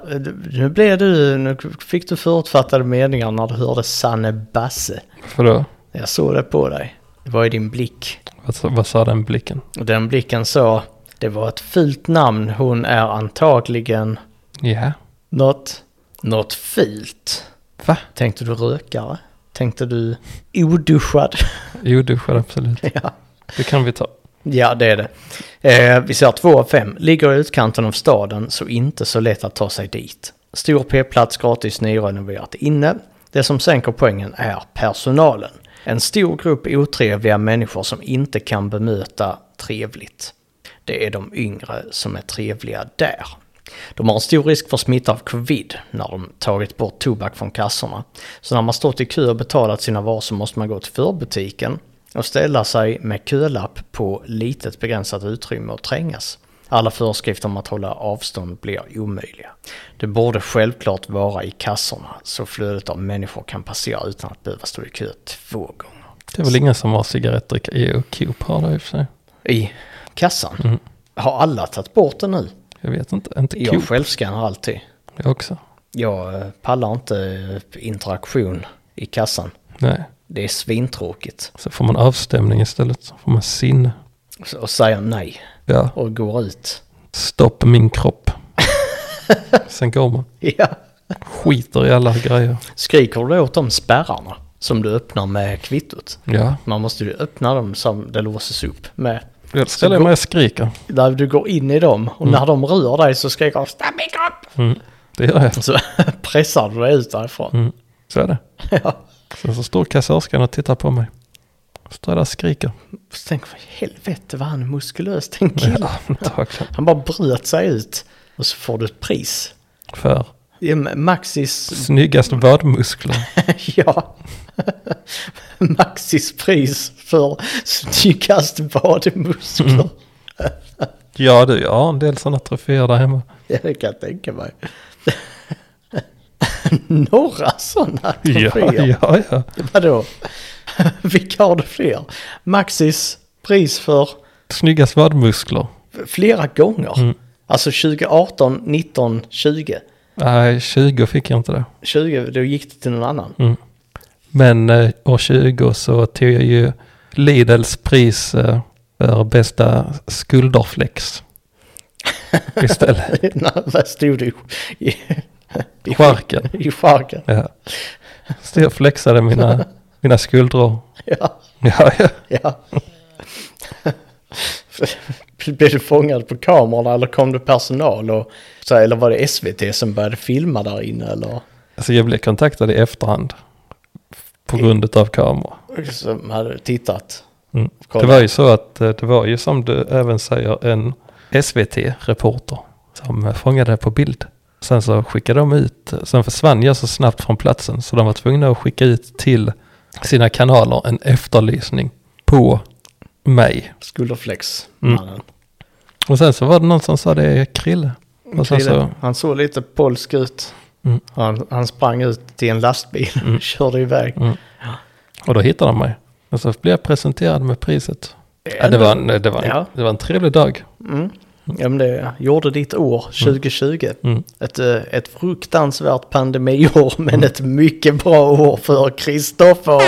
nu, blev du, nu fick du förutfattade meningar när du hörde Sanne Basse.
Varför då?
Jag såg det på dig. Det var i din blick.
Vad, sa- vad sa den blicken?
Och den blicken sa, det var ett fult namn. Hon är antagligen
Ja.
något, något fult.
Va?
Tänkte du rökare? Tänkte du oduschad?
Oduschad absolut.
ja.
Det kan vi ta.
ja, det är det. Eh, vi ser två av fem. Ligger i utkanten av staden så inte så lätt att ta sig dit. Stor p-plats, gratis nyrenoverat inne. Det som sänker poängen är personalen. En stor grupp otrevliga människor som inte kan bemöta trevligt. Det är de yngre som är trevliga där. De har en stor risk för smitta av covid när de tagit bort tobak från kassorna. Så när man stått i kö och betalat sina varor så måste man gå till förbutiken och ställa sig med kölapp på litet begränsat utrymme och trängas. Alla föreskrifter om att hålla avstånd blir omöjliga. Det borde självklart vara i kassorna så flödet av människor kan passera utan att behöva stå i kö två gånger.
Det är väl ingen som har cigaretter i och Coop har det i och för sig.
I kassan?
Mm.
Har alla tagit bort det nu?
Jag vet inte. Inte
Jag
Coop.
självskannar alltid.
Jag också.
Jag eh, pallar inte eh, interaktion i kassan.
Nej.
Det är svintråkigt.
Så får man avstämning istället. Så får man sinne.
Så- Och säger nej
Ja.
och går ut.
Stopp min kropp. Sen går man.
Ja.
Skiter i alla grejer.
Skriker du åt de spärrarna som du öppnar med kvittot?
Ja.
Man måste ju öppna dem som det låses upp med.
Jag ställer mig och skriker.
Där du går in i dem och när de rör dig så skriker de "Stopp min kropp!
Mm. Det gör jag.
Så pressar du dig ut därifrån.
Mm. Så är det.
Ja.
Sen så står kassörskan och tittar på mig. Står där och skriker.
Så tänker jag, helvete vad han är muskulös den killen.
Ja, antagligen.
Han bara bröt sig ut. Och så får du ett pris.
För
Det är Maxis
snyggast vadmuskler.
Ja. Maxis pris för snyggast badmuskler.
Mm. Ja du, jag har en del sådana troféer där hemma.
Det kan jag tänka mig. Några sådana
Ja,
troféer.
ja, ja.
Vadå? Vilka har du fler? Maxis pris för
Snyggast vadmuskler.
flera gånger.
Mm.
Alltså 2018, 19, 20.
Nej, 20 fick jag inte det.
20, då gick det till någon annan.
Men eh, år 20 så tog jag ju Lidls pris eh, för bästa skulderflex. Istället.
När- Vad stod det? I, i,
Charken.
i charken.
Ja. Så jag flexade mina, mina skuldror.
Ja.
Ja, ja.
Ja. Blev du fångad på kamerorna eller kom det personal? Och, så, här, eller var det SVT som började filma där inne? Eller,
Alltså jag blev kontaktad i efterhand. På grund av kamera.
som hade tittat?
Mm.
Kolla.
Det var ju så att eh, det var ju som du även säger en SVT-reporter som eh, fångade det på bild. Sen så skickade de ut, eh, sen försvann jag så snabbt från platsen så de var tvungna att skicka ut till sina kanaler en efterlysning på mig.
Skulderflex-mannen.
Mm. Och sen så var det någon som sa det är Krille. Och sen så,
Killen, Han såg lite polsk ut.
Mm.
Han, han sprang ut till en lastbil och körde iväg.
och då hittade de mig. Och så blev jag presenterad med priset. Ja, det, var en, eh, det, var en,
Ja.
det var en trevlig dag.
Ja, men det gjorde ditt år 2020.
Mm.
Ett, eh, ett fruktansvärt pandemiår men ett mycket bra år för Kristoffer.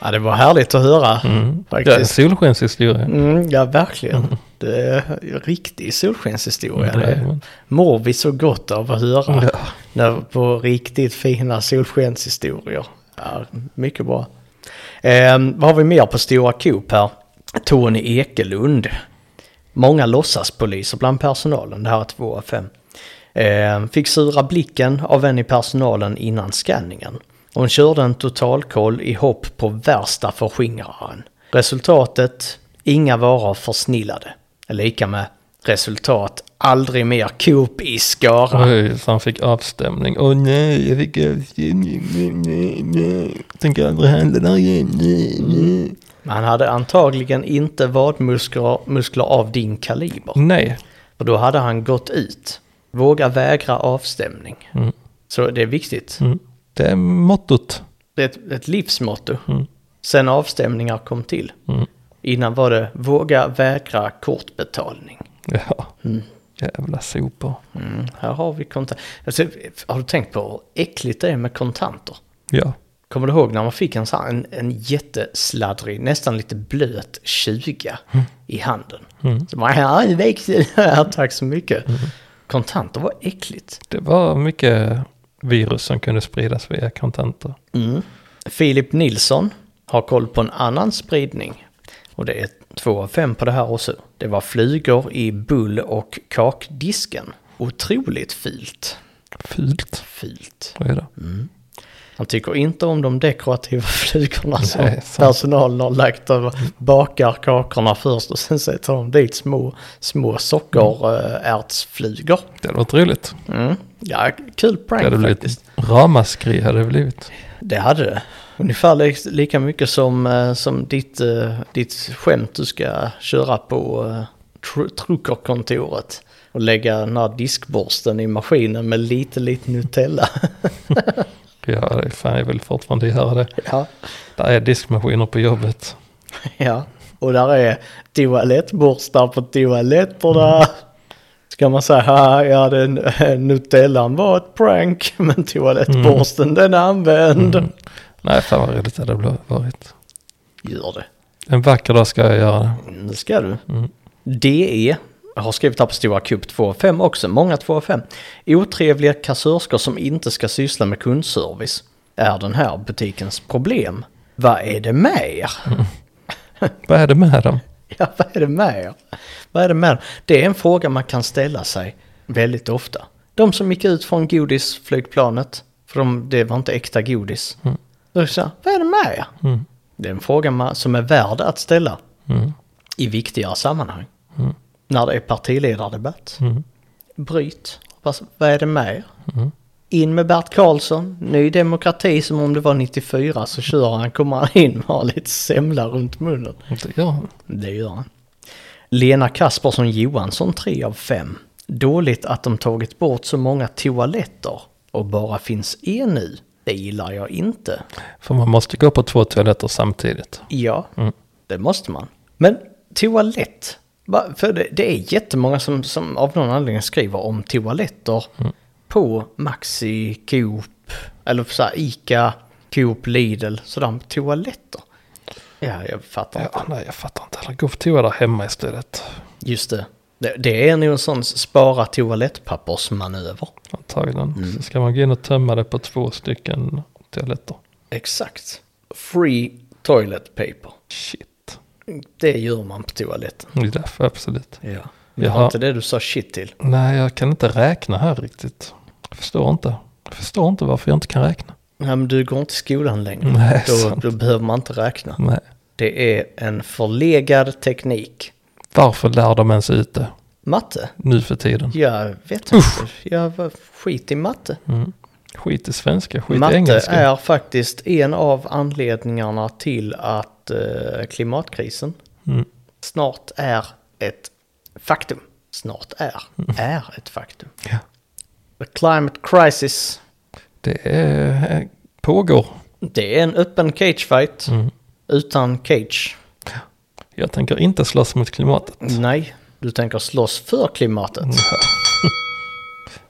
ja, det var härligt att höra
Det är Mm. en
faktiskt.
solskenshistoria.
Mm, ja, verkligen. Det är en riktig solskenshistoria.
Mm, det är
Det
det.
mår vi så gott av att höra.
Ja.
När, på riktigt fina solskenshistorier. Ja, mycket bra. Eh, vad har vi mer på Stora Coop här? Tony Ekelund. Många låtsaspoliser bland personalen, det här är två av fem. Eh, fick sura blicken av en i personalen innan skanningen. Hon körde en totalkoll i hopp på värsta förskingraren. Resultatet, inga varor försnillade. Lika med Resultat, aldrig mer Coop i Skara.
Oj, så han fick avstämning. Åh nej, jag fick avstämning. Nej, nej, nej. Tänker aldrig handla där igen. Nej, nej.
Men han hade antagligen inte vadmuskler muskler av din kaliber.
nej.
Och då hade han gått ut. Våga vägra avstämning. Så det är viktigt.
Mm. Det är mottot.
Det är ett, ett livsmotto. Sen avstämningar kom till. Innan var det våga vägra kortbetalning.
Ja. Mm. Jävla sopor.
Mm, här har vi kontanter. Alltså, har du tänkt på hur äckligt det är med kontanter?
Ja.
Kommer du ihåg när man fick en, sån här- en, en jättesladdrig, nästan lite blöt 20 i handen? Så man, ja, en växel, ja, tack så mycket. Kontanter var äckligt.
Det var mycket virus som kunde spridas via kontanter.
Filip Nilsson har koll på en annan spridning. Och det är två av fem på det här också. Det var flugor i bull och kakdisken. Otroligt filt.
Fult.
Filt.
Vad är det?
Han tycker inte om de dekorativa flugorna som
Nej, sant.
personalen har lagt över. Bakar kakorna först och sen sätter de dit små, små sockerärtsflugor.
Det hade varit roligt.
Mm. Ja, kul
Det
prank
hade
faktiskt.
blivit ramaskri hade det blivit.
Det hade det. Ungefär li lika mycket som, eh, som ditt, eh, ditt skämt du ska köra på eh, tr Trucker-kontoret. Och lägga den här diskborsten i maskinen med lite, lite Nutella.
Ja, det- fan jag vill fortfarande göra det.
ja.
Där är diskmaskiner på jobbet.
ja. Och där är toalettborstar på toaletterna. Ska man säga, "Ah, ja den, Nutellan var ett prank, men toalettborsten den är använd.
Nej, fan vad roligt det hade varit.
Gör det.
En vacker dag ska jag göra det.
Mm, Det ska du. DE har skrivit här på Stora Cup 2 av 5 också, många 2 av 5. Otrevliga kassörskor som inte ska syssla med kundservice är den här butikens problem. Vad är det med er?
Vad är det med dem?
Ja, vad är det med er? Vad är det med er? Det är en fråga man kan ställa sig väldigt ofta. De som gick ut från godisflygplanet, för de, det var inte äkta godis. Då sa jag, vad är det med er? Det är en fråga man, som är värd att ställa
Mm.
i viktigare sammanhang. När det är partiledardebatt. Bryt. Vad- Vad är det med er? In med Bert Karlsson, Ny Demokrati som om det var 94 så kör han, kommer han in med har lite semla runt munnen.
Det gör han.
Det gör han. Lena Kaspersson Johansson 3 av 5. Dåligt att de tagit bort så många toaletter och bara finns en nu. Det gillar jag inte.
För man måste gå på två toaletter samtidigt.
Ja, det måste man. Men toalett. Va- För det, det är jättemånga som, som av någon anledning skriver om toaletter på Maxi, Coop, eller så här Ica, Coop, Lidl, sådär toaletter. Ja, jag fattar inte.
Ja, nej, jag fattar inte heller. Gå på toa där hemma istället.
Just det. det. Det är nog en sån spara toalettpappersmanöver.
Antagligen. Så ska man gå in och tömma det på två stycken toaletter.
Exakt. Free toilet paper.
Shit.
Det gör man på toaletten.
Det är därför, absolut.
Ja. Det var
Jaha.
inte det du sa shit till.
Nej, jag kan inte räkna här riktigt. Jag förstår inte. Jag förstår inte varför jag inte kan räkna.
Nej, men du går inte i skolan längre.
Nej,
då,
sant.
då behöver man inte räkna.
Nej.
Det är en förlegad teknik.
Varför lär de ens ut det
Matte?
nu för tiden?
Jag vet inte. Jag var skit i matte.
Mm. Skit i svenska, skit i
Matte
engelska.
är faktiskt en av anledningarna till att eh, klimatkrisen
Mm.
snart är ett faktum. Snart är,
Mm.
är ett faktum.
Ja.
The climate crisis,
Det är, pågår.
det är en öppen cagefight
Mm.
utan cage.
Jag tänker inte slåss mot klimatet. Mm.
Nej, du tänker slåss för klimatet.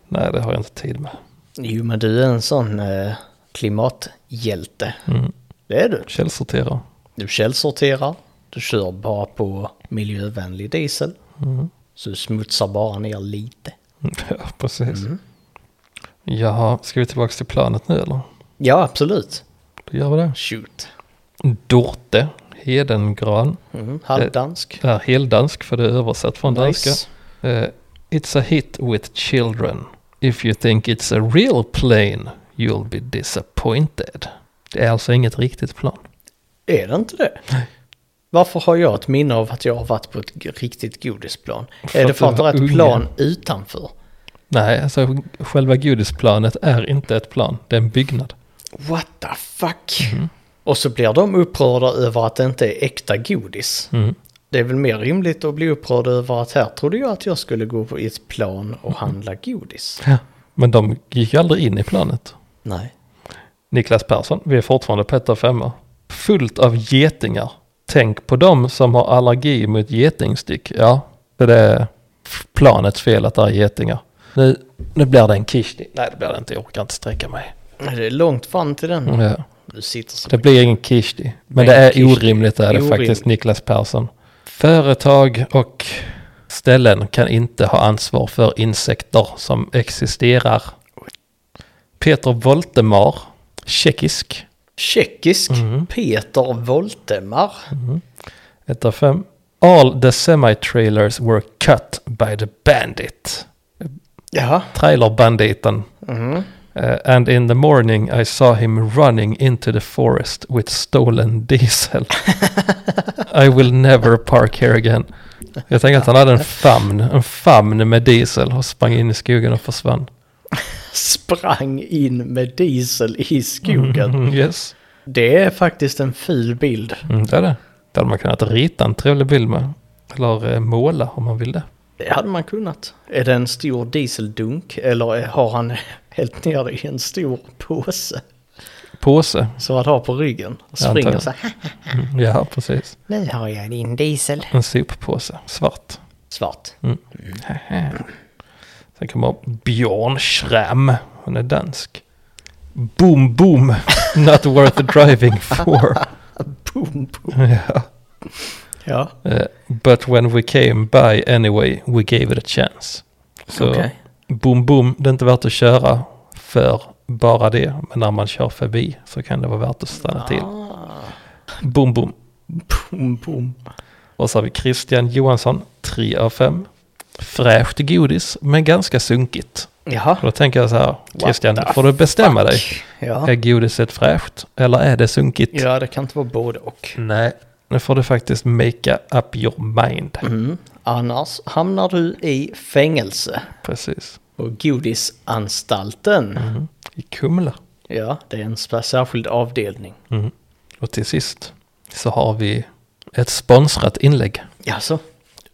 Nej, det har jag inte tid med.
Jo, men du är en sån eh, klimathjälte.
Mm.
Det är du.
Källsortera.
Du källsorterar, du kör bara på miljövänlig diesel.
Mm.
Så du smutsar bara ner lite.
Ja, precis. Jaha, ska vi tillbaka till planet nu eller?
Ja, absolut.
Då gör vi det.
Shoot.
Dorte Hedengran.
Mm.
Eh,
Halvdansk.
Det här är heldansk för det är översatt från danska.
Nice.
Eh, it's a hit with children. If you think it's a real plane you'll be disappointed. Det är alltså inget riktigt plan.
Är det inte det? Varför har jag ett minne av att jag har varit på ett g- riktigt godisplan?
För
är det
att
för
du
att det
var
är ett
ung.
plan utanför?
Nej, alltså själva godisplanet är inte ett plan, det är en byggnad.
What the fuck?
Mm.
Och så blir de upprörda över att det inte är äkta godis.
Mm.
Det är väl mer rimligt att bli upprörd över att här trodde jag att jag skulle gå på ett plan
Mm.
och handla godis.
Men de gick ju aldrig in i planet.
Nej.
Niklas Persson, vi är fortfarande på ett av femma. Fullt av getingar. Tänk på dem som har allergi mot getingstick. Ja, för det är f- planets fel att det är getingar. Nu, nu blir det en kishti. Nej, det blir det inte. Jag orkar inte sträcka mig.
Det är långt fram till den.
Ja.
Du sitter som
Mm. Det
en-
blir ingen kishti. Men
Nej,
det är
kishti.
orimligt är det
Orimligt.
faktiskt, Niklas Persson. Företag och ställen kan inte ha ansvar för insekter som existerar. Peter Voltemar, tjeckisk.
Tjeckisk
Mm.
Peter Voltemar.
Ett av fem. All the semi-trailers were cut by the bandit.
Jaha.
Trailerbanditen.
Mm.
Eh, and in the morning I saw him running into the forest with stolen diesel. I will never park here again. Jag tänker att han hade en famn, en famn med diesel och sprang in i skogen och försvann.
Sprang in med diesel i skogen.
Mm, yes,
Det är faktiskt en ful bild.
mm, det är det. Det hade man kunnat rita en trevlig bild med. Eller eh, måla om man ville.
Det hade man kunnat. Är det en stor dieseldunk eller är- har han hällt ner det i en stor påse?
Påse.
Som han har på ryggen. Och springer
antagligen.
så här. "Haha,
Mm, ja, precis.
Nu har jag din diesel.
En soppåse. Svart.
Svart.
Sen kommer Björn Schramm. Hon är dansk. Boom boom, not worth driving for.
Boom, boom.
Ja.
Ja.
Eh, but when we came by anyway, we gave it a chance. Så
Okej.
boom boom, det är inte värt att köra för bara det. Men när man kör förbi så kan det vara värt att stanna till.
Ah,
Boom boom.
boom, boom.
Och så har vi Christian Johansson, 3 av 5. Fräscht godis, men ganska sunkigt.
Jaha.
Och då tänker jag så här, Christian,
the
får du bestämma dig.
Ja.
Är godiset fräscht eller är det sunkigt?
ja, det kan inte vara både och.
Nej, nu får du faktiskt make up your mind.
Mm. Annars hamnar du i fängelse.
Precis.
På godisanstalten.
Mm. I Kumla. Mm.
Ja, det är en spe- särskild avdelning.
Och till sist så har vi ett sponsrat inlägg.
Jaså?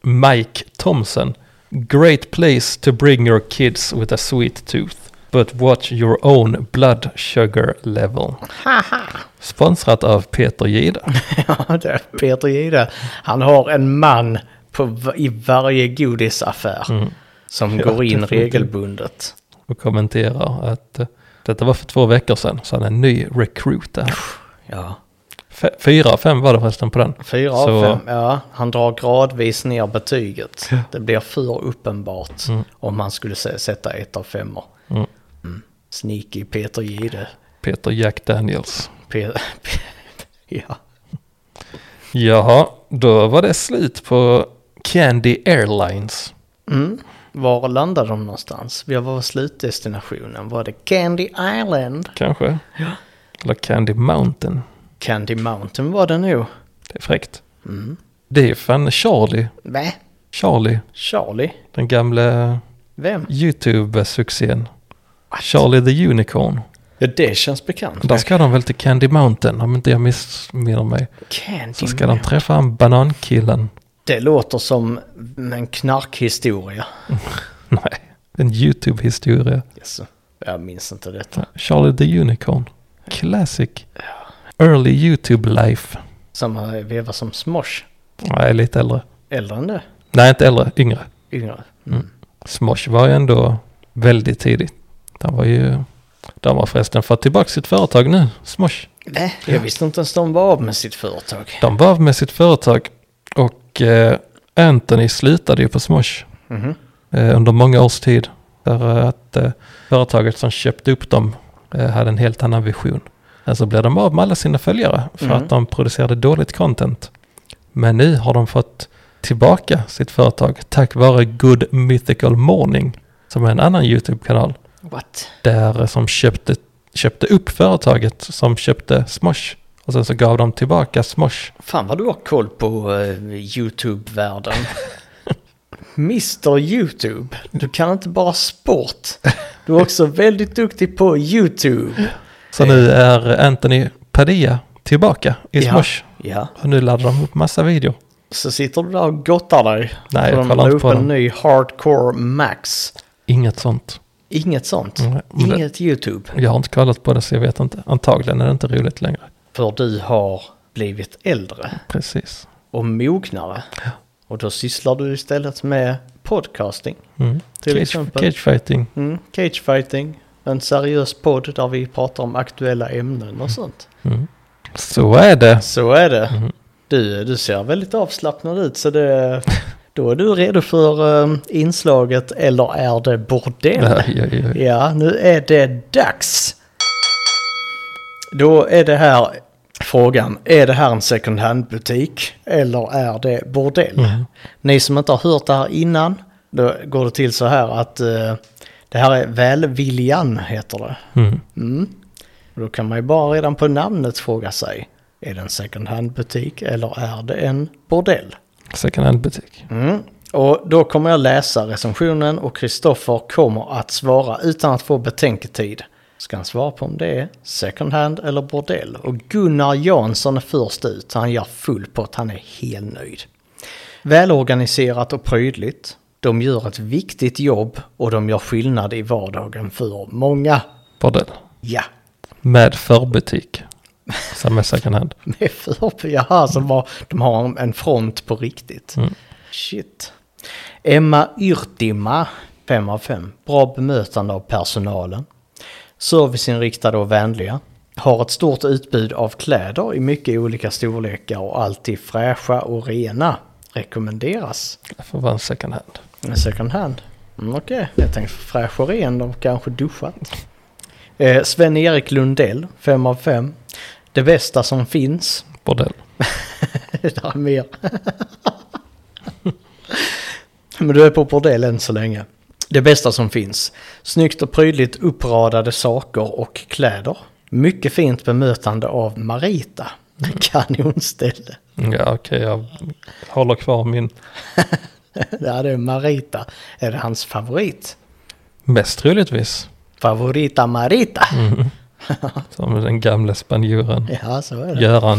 Mike Thompson. Great place to bring your kids with a sweet tooth. But watch your own blood sugar level. Sponsrat av Peter Jihde.
Ja, det är Peter Jihde. Han har en man på, v- i varje godisaffär. Som går in
Mm. definitivt.
regelbundet.
Och kommenterar att eh, detta var för två veckor sedan. Så han är en ny recruit där.
Ja.
Fe- Fyra av fem var det förresten på den.
Fyra av
Så-
fem, ja. Han drar gradvis ner betyget. Det blir för uppenbart om man skulle sä- sätta ett av femmor.
Mm.
Sneaky Peter Jihde. Mm. Mm.
Mm. eh, eh, eh, Alltså eh, Och sen så gav de tillbaka
Mm. Mhm.
smosh.
Fan vad du har koll på eh, YouTube-världen. Mr YouTube. Du kan inte bara sport. Du är också väldigt duktig på YouTube.
Så nu är Anthony Padilla tillbaka i
Ja.
smosh.
Ja,
Och nu laddar de upp massa videor.
så sitter du där och gottar dig.
Nej,
För
jag
de la
kollar inte
upp
på
en
dem.
ny Hardcore Max.
Inget sånt.
Inget sånt.
Nej, men det-
Mm. Inget YouTube.
Jag har inte kollat på det så jag vet inte. Antagligen är det inte roligt längre.
För du har blivit äldre
Precis.
och mognare. Och då sysslar du istället med podcasting.
Mm.
Till
cage,
exempel.
Cagefighting.
Mm, cagefighting. En seriös podd där vi pratar om aktuella ämnen och sånt.
Mm. Så är det.
Så är det.
Mm.
Du, du ser väldigt avslappnad ut så det, då är du redo för eh, inslaget eller är det bordell?
Oj, oj, oj.
Ja, nu är det dags. Då är det här frågan, är det här en second hand-butik eller är det bordell?
Mm.
Ni som inte har hört det här innan, då går det till så här att eh, det här är Välviljan heter det.
Mm.
Mm. Och Då kan man ju bara redan på namnet fråga sig, är det en second hand-butik eller är det en bordell?
Second hand-butik.
Mm. Och då kommer jag läsa recensionen och Kristoffer kommer att svara utan att få betänketid. Ska han svara på om det är second hand eller bordell? Och Gunnar Jansson är först ut, han gör full pott, han är helt nöjd. Välorganiserat och prydligt. De gör ett viktigt jobb och de gör skillnad i vardagen för många.
Bordell.
Ja,
Med förbutik. Som är second hand.
med för... Jaha, som var, de har en front på riktigt. Shit. Emma Yrtima, 5 av 5. Bra bemötande av personalen. Serviceinriktade och vänliga. Har ett stort utbud av kläder i mycket olika storlekar och alltid fräscha och rena. Rekommenderas.
Det får vara en second hand.
En Second hand. Mm, Okej, jag tänkte fräsch och ren, de kanske duschat. Eh, Sven-Erik Lundell, 5 av 5. Det bästa som finns,
Bordell.
det är mer. Men du är på bordell än så länge. Det bästa som finns. Snyggt och prydligt uppradade saker och kläder. Mycket fint bemötande av Marita. Kanonställe.
Mm, Ja, okej, jag håller kvar min
Ja, det är Marita. Är det hans favorit?
mest troligtvis. Mm.
Favorita Marita.
Som den gamle spanjoren
Ja, så är det.
Göran.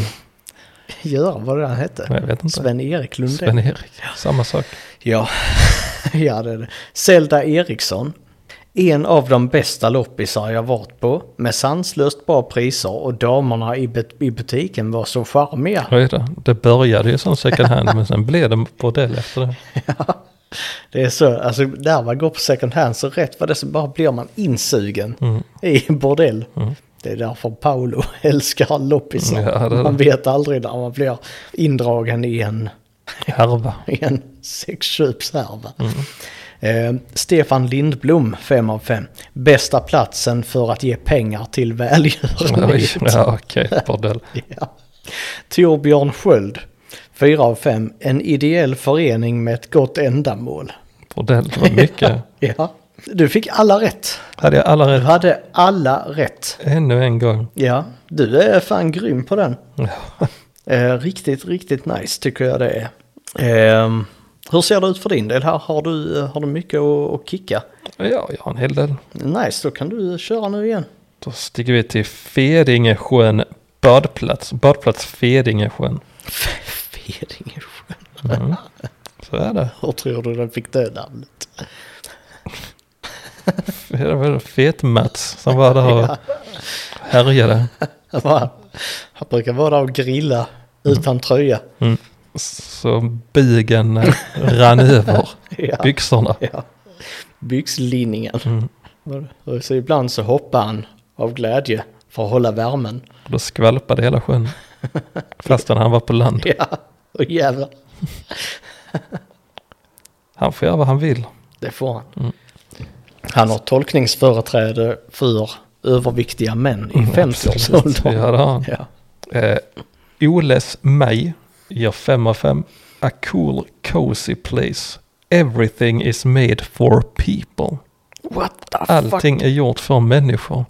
Gör vad det han hette.
Jag vet inte.
Sven-Erik Lundell.
Sven-Erik. Samma sak.
Ja, ja det är det. Zelda Eriksson. En av de bästa loppisar jag varit på med sanslöst bra priser och damerna i, bu- i butiken var så charmiga.
Oj då. Det började ju som second hand men sen blev det bordell efter det.
Det är så, alltså där man går på second hand så rätt vad det är så bara blir man insugen
Mm.
i en bordell. Det är därför Paolo älskar loppisar.
Ja, det är
man
det.
vet aldrig när man blir indragen i en
Härva.
i en sexköpshärva. Eh, Stefan Lindblom, 5 av 5. Bästa platsen för att ge pengar till
Oj,
välgörenhet.
Ja, okej, bordell.
Ja. Torbjörn Sköld, 4 av 5. En ideell förening med ett gott ändamål.
Bordell, det var mycket.
Ja. Du fick alla rätt.
Hade jag alla
Du
rätt
hade alla rätt.
ännu en gång.
Ja, du är fan grym på den.
Ja.
Eh, riktigt, riktigt nice tycker jag det är. Ehm, hur ser det ut för din del här? Har du, eh, har du mycket att, att kicka?
Ja, jag har en hel del.
Nice, då kan du köra nu igen.
Då sticker vi till Fedingesjön badplats. Badplats Fedingesjön.
Fedingsjö.
Mm. Så är det.
Hur tror du den fick det namnet?
Det var det Fet-Mats som var där och härjade.
Han brukar vara där och grilla utan tröja.
Så bigen eh, rann över
Ja,
byxorna. Mm.
ja. Byxlinningen. Var det? Och Så ibland så hoppar han av glädje för att hålla värmen.
Då skvalpade hela sjön. Fastän han var på land.
Ja, och jävlar.
Han får göra vad han vill.
Det får han. Han har tolkningsföreträde för överviktiga män i 50-årsåldern.
Ja, Mm, det har han.
Mm, Ja.
Eh, Oles Maj ger 5 av 5. A cool cozy place. Everything is made for people.
What the Ah, fuck?
Allting är gjort för människor.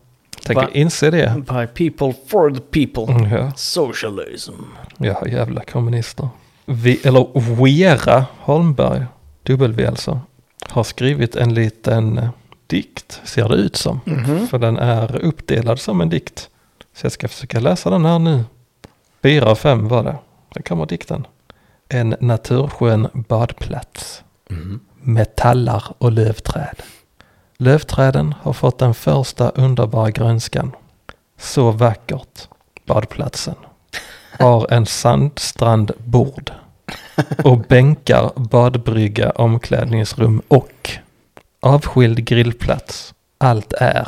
Tänker
Va?
inse det.
By people for the people.
Mm, Ja,
Socialism.
ja jävla kommunister. Vi, eller Vera Holmberg, W alltså, har skrivit en liten eh, dikt, ser det ut som.
Mm-hmm.
För den är uppdelad som en dikt. Så jag ska försöka läsa den här nu. Fyra av fem var det. Där kommer dikten. En naturskön badplats.
Mm.
Med tallar och lövträd. Lövträden har fått den första underbara grönskan. Så vackert, badplatsen. Har en sandstrand bord. Och bänkar, badbrygga, omklädningsrum och avskild grillplats. Allt är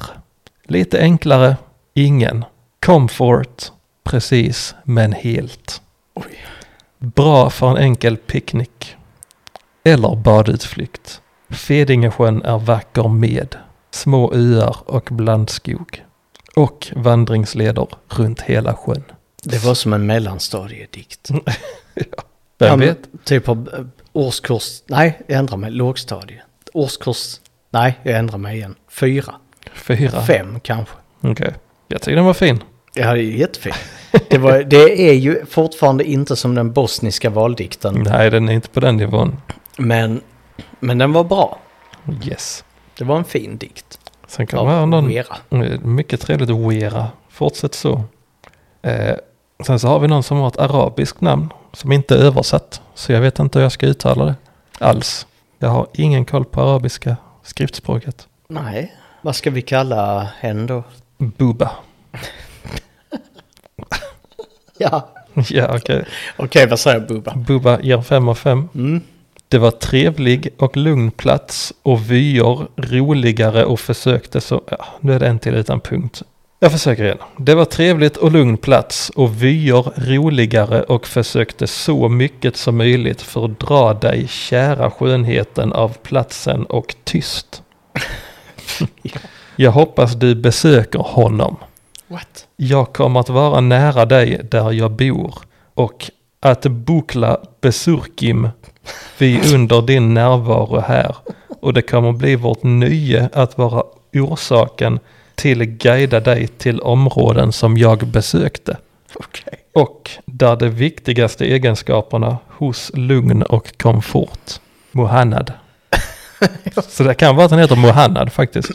lite enklare, ingen. Comfort, precis men helt. Bra för en enkel picknick. Eller badutflykt. Fedingesjön är vacker med små öar och blandskog. Och vandringsleder runt hela sjön.
Det var som en mellanstadiedikt.
Vem
Ja, men
vet?
Typ av eh, årskurs, nej jag ändrar mig, lågstadie. Årskurs, nej jag ändrar mig igen. Fyra,
Fyra.
fem kanske.
Okej. Jag tycker den var fin.
Ja, det är jättefint. Det, var, det är ju fortfarande inte som den bosniska valdikten.
Nej, den är inte på den nivån.
Men, men den var bra.
Yes. Det
Det var en fin dikt.
Sen kommer här någon...
Vera.
Eh, Mycket trevligt att Wera. Fortsätt så. Eh, sen så har vi någon som har ett arabiskt namn som inte är översatt. Så jag vet inte hur jag ska uttala det alls. Jag har ingen koll på arabiska skriftspråket.
Nej, vad ska vi kalla henne då?
Buba.
Ja,
ja, okej.
okej vad säger Bubba?
Buba ger fem av fem.
Mm.
Det var trevlig och lugn plats och vyer roligare och försökte så... Ja, nu är det en till utan punkt. Jag försöker igen. Det var trevligt och lugn plats och vyer roligare och försökte så mycket som möjligt fördra dig kära skönheten av platsen och tyst. Jag hoppas du besöker honom.
What?
Jag kommer att vara nära dig där jag bor och att bukla besurkim vi under din närvaro här och det kommer bli vårt nöje att vara orsaken till guida dig till områden som jag besökte
Okej.
och där de viktigaste egenskaperna hos lugn och komfort. Mohannad. Så det kan vara att han heter Mohannad faktiskt.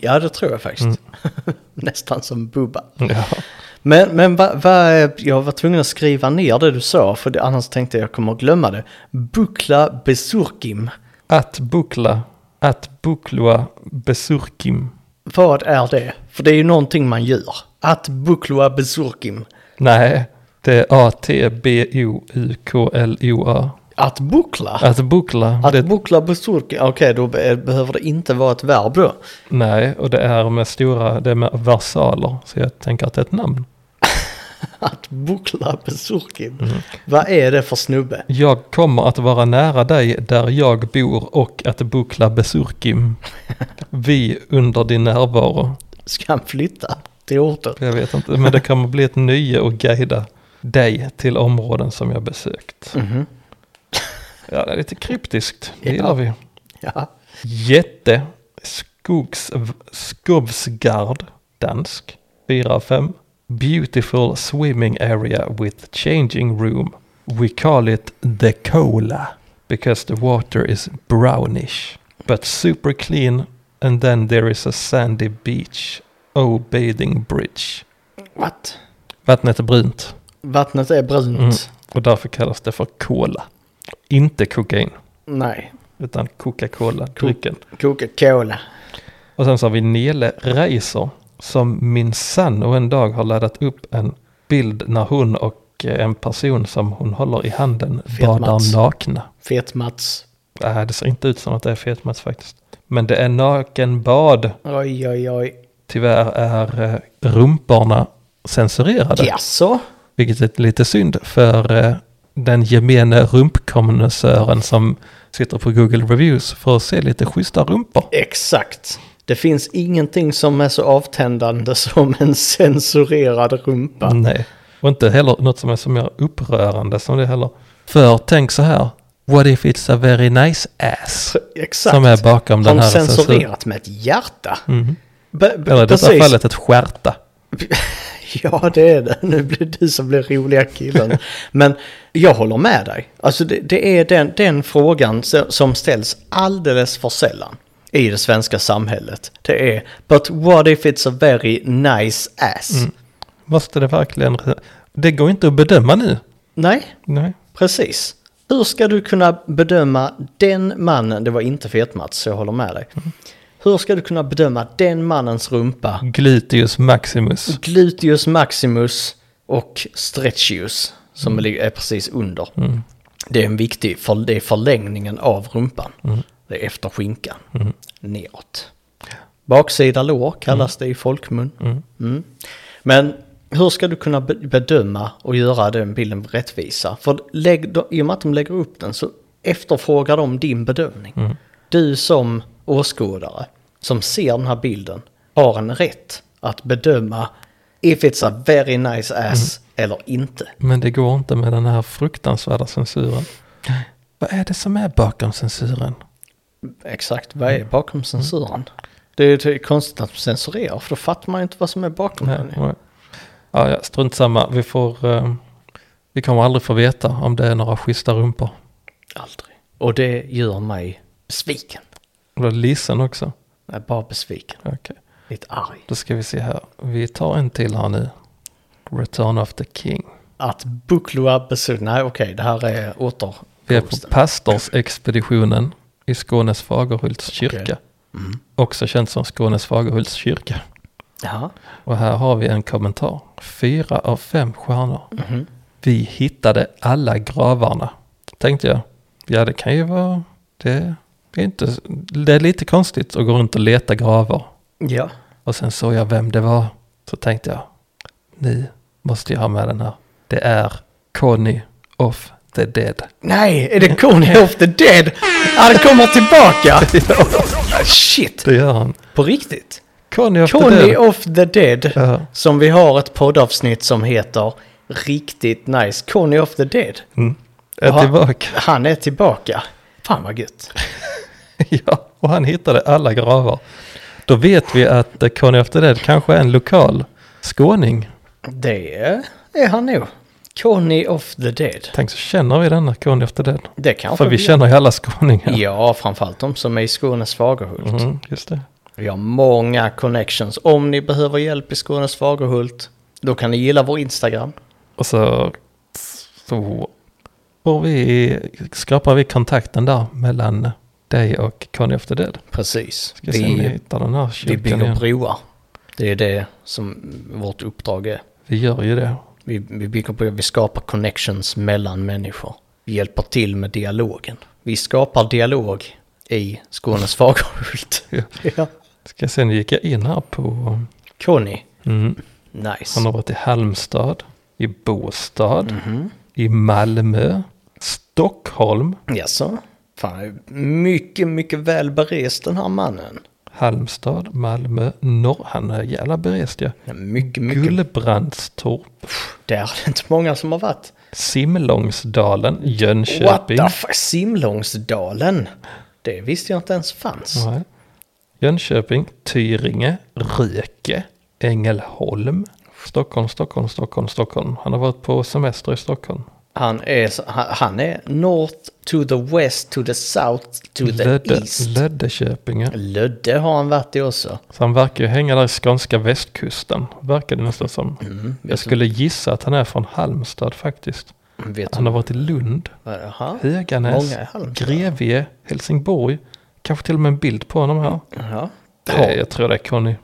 Ja, det tror jag faktiskt.
Mm.
Nästan som Bubba.
Ja.
Men, men va, va, jag var tvungen att skriva ner det du sa, för det, annars tänkte jag kommer att glömma det. Bukla Besurkim.
Att bukla, att buklua besurkim.
Vad är det? För det är ju någonting man gör. Att bukla Besurkim.
Nej, det är A-T-B-O-U-K-L-O-A.
Att bukla?
Att bukla,
Att
det,
bukla Besurkim, okej då be- behöver det inte vara ett verb då.
nej, och det är med stora, det är med versaler, så jag tänker att det är ett namn.
Att bukla Besurkim.
Mm.
Vad är det för snubbe?
Jag kommer att vara nära dig där jag bor och att bukla besurkim. Vi under din närvaro.
Ska han flytta till orten?
Jag vet inte, men det kommer bli ett nöje att guida dig till områden som jag besökt.
Mhm.
Ja, det är lite kryptiskt, det
Ja.
gillar vi.
Ja.
Jätte Skogs, Skovsgard, dansk, 4 av 5. Beautiful swimming area with changing room. We call it the cola because the water is brownish but super clean and then there is a sandy beach. Oh bathing bridge.
What?
Vattnet är brunt
Vattnet är brunt.
Mm. och därför kallas det för cola. Inte kokain
Nej.
utan Coca-Cola, drycken.
Coca-Cola.
Och sen så har vi Nele Reiser som min sann och en dag har laddat upp en bild när hon och eh, en person som hon håller i handen
Fet Mats.
badar nakna.
Fet-Mats.
Äh, det ser inte ut som att det är fetmats faktiskt. Men det är nakenbad.
Oj, oj, oj.
Tyvärr är eh, rumporna censurerade.
Jaså?
Vilket är lite synd för eh, den gemene rumpkonnässören som sitter på Google Reviews för att se lite schyssta rumpor.
Exakt. Det finns ingenting som är så avtändande som en censurerad rumpa.
Nej, Mm. och inte heller något som är så mer upprörande som det heller. För tänk så här, what if it's a very nice ass?
Exakt.
Som är bakom den
Har
här
de
censuren.
censurerat med ett hjärta?
Mhm.
Be- be-
Eller i detta
precis.
fallet ett skärta.
Ja, det är det. Nu blir det du som blir roliga killen. Men jag håller med dig. Alltså det, det är den, den frågan se- som ställs alldeles för sällan i det svenska samhället. Det är, but what if it's a very nice ass?
Mm. Måste det verkligen... Det går inte att bedöma nu.
Nej,
Nej.
precis. Hur ska du kunna bedöma den mannen, det var inte fet-Mats, så jag håller med dig. Hur ska du kunna bedöma den mannens
Mm.
rumpa,
Gluteus maximus.
gluteus maximus och stretchius som ligger- är precis under?
Mm.
Det är en viktig, för, det är förlängningen av rumpan. Det är efter skinkan, neråt. Baksida lår kallas det i folkmun. Mm. Men hur ska du kunna be- bedöma och göra den bilden rättvisa? För lägg, då, i och med att de lägger upp den så efterfrågar de din bedömning. Du som åskådare, som ser den här bilden, har en rätt att bedöma if it's a very nice ass eller inte.
Men det går inte med den här fruktansvärda censuren. Vad är det som är bakom censuren?
Exakt, vad är bakom censuren? Det är det är konstigt att de censurerar, för då fattar man ju inte vad som är bakom
Nej,
den.
nej. Ja, ja, strunt samma. Vi får... eh, vi kommer aldrig få veta om det är några schyssta rumpor.
Aldrig. Och det gör mig besviken.
Och det är Lissen också.
Jag är bara besviken.
Okej.
Lite arg.
Då ska vi se här. Vi tar en till här nu. Return of the King.
Att Buklua besud... Nej, okej, det här är åter...
Vi är på pastorsexpeditionen i Skånes Fagerhults kyrka.
Okej.
Också känt som Skånes Fagerhults kyrka.
Ja.
Och här har vi en kommentar. Fyra av fem stjärnor. Vi hittade alla gravarna. Tänkte jag. Ja, det kan ju vara... Det är, inte, det är lite konstigt att gå runt och leta gravar.
Ja.
Och sen såg jag vem det var. Så tänkte jag, nu måste jag ha med den här. Det är Conny of the Dead.
Nej, är det Coney of the Dead? Han kommer tillbaka! Shit!
Det gör han.
På riktigt?
Conny of the
Coney
Dead.
of the Dead,
Ja.
som vi har ett poddavsnitt som heter Riktigt Nice. Coney of the Dead.
Mm. Är
Jaha.
tillbaka.
Han är tillbaka. Fan vad gött.
Ja, och han hittade alla gravar. Då vet vi att eh, Conny of the Dead kanske är en lokal skåning.
Det är han nog. Conny of the Dead.
Tänk så känner vi denna Conny of the Dead.
Det kanske
För vi känner ju alla skåningar.
Ja, framförallt de som är i Skånes Fagerhult.
Mm, just det.
Vi har många connections. Om ni behöver hjälp i Skånes Fagerhult, då kan ni gilla vår Instagram.
Och så, så får vi, skapar vi kontakten där mellan dig och Conny of the Dead.
Precis.
Ska se om vi
Vi,
hittar den här
vi
kyrkan
bygger
igen.
broar. Det är det som vårt uppdrag är.
Vi gör ju det.
Vi, vi bygger broar, vi skapar connections mellan människor. Vi hjälper till med dialogen. Vi skapar dialog i Skånes Fagerhult.
Ja.
ja.
Ska se, nu gick jag in här på...
Conny,
Mm,
nice.
han har varit i Halmstad, i Båstad,
Mm-hmm.
i Malmö, Stockholm,
Jaså? Fan, mycket, mycket väl berest den här mannen.
Halmstad, Malmö, Norr... Han är jävla berest ja.
Mycket, mycket.
Gullbrandstorp,
Där är det inte många som har varit.
Simlångsdalen,
What
Jönköping.
the fuck? Simlångsdalen? Det visste jag inte ens fanns.
Nej. Jönköping, Tyringe, Röke, Ängelholm. Stockholm, Stockholm, Stockholm, Stockholm. Han har varit på semester i Stockholm.
Han är, så- han- han är north to the west to the south to the
Lödde,
east.
Löddeköpinge.
Lödde har han varit i också.
Så han verkar ju hänga där i skånska västkusten. Verkar
Mm,
det nästan som.
vet
Jag skulle gissa att han är från Halmstad faktiskt.
Mm, Vet
Han
du?
har varit i Lund,
Jaha.
Höganäs,
Många i Halmstad.
Grevie, Helsingborg. Kanske till och med en bild på honom här.
Jaha.
Det, jag tror det är Conny.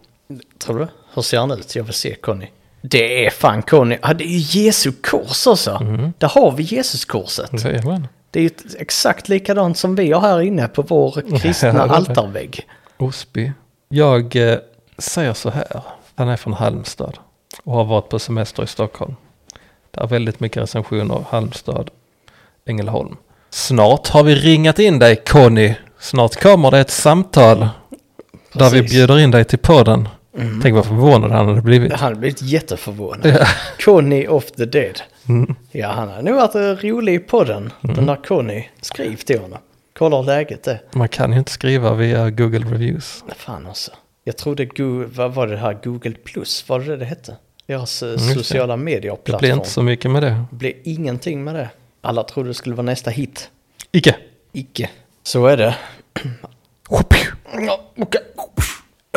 Tror du? Hur ser han ut? Jag vill se Conny. Det är fan Conny. Ja, det är ju Jesu kors också.
Mhm.
Där har vi Jesuskorset.
Mm. Jajamän.
Det är ju ett- exakt likadant som vi har här inne på vår kristna
Ja, det är det.
altarvägg.
Osby. Jag eh, säger så här. Han är från Halmstad och har varit på semester i Stockholm. Det är väldigt mycket recensioner av Halmstad, Ängelholm. Snart har vi ringat in dig Conny. Snart kommer det ett samtal där vi
Precis.
bjuder in dig till podden. Tänk vad förvånad han hade blivit.
Han har blivit jätteförvånad. Conny of the dead.
Mm.
Ja, han har nog varit eh, rolig i podden, den där Conny. Skriv till honom. Kolla hur läget är.
Man kan ju inte skriva via Google Reviews.
Fan också. Jag trodde, Go- vad var det här, Google Plus, var det det det hette? Deras eh,
Mm, just det.
sociala
Det blir
medier-plattform.
inte så mycket med det.
Det blev ingenting med det. Alla trodde det skulle vara nästa hit.
Icke.
Icke. Så är det. Ja, okej.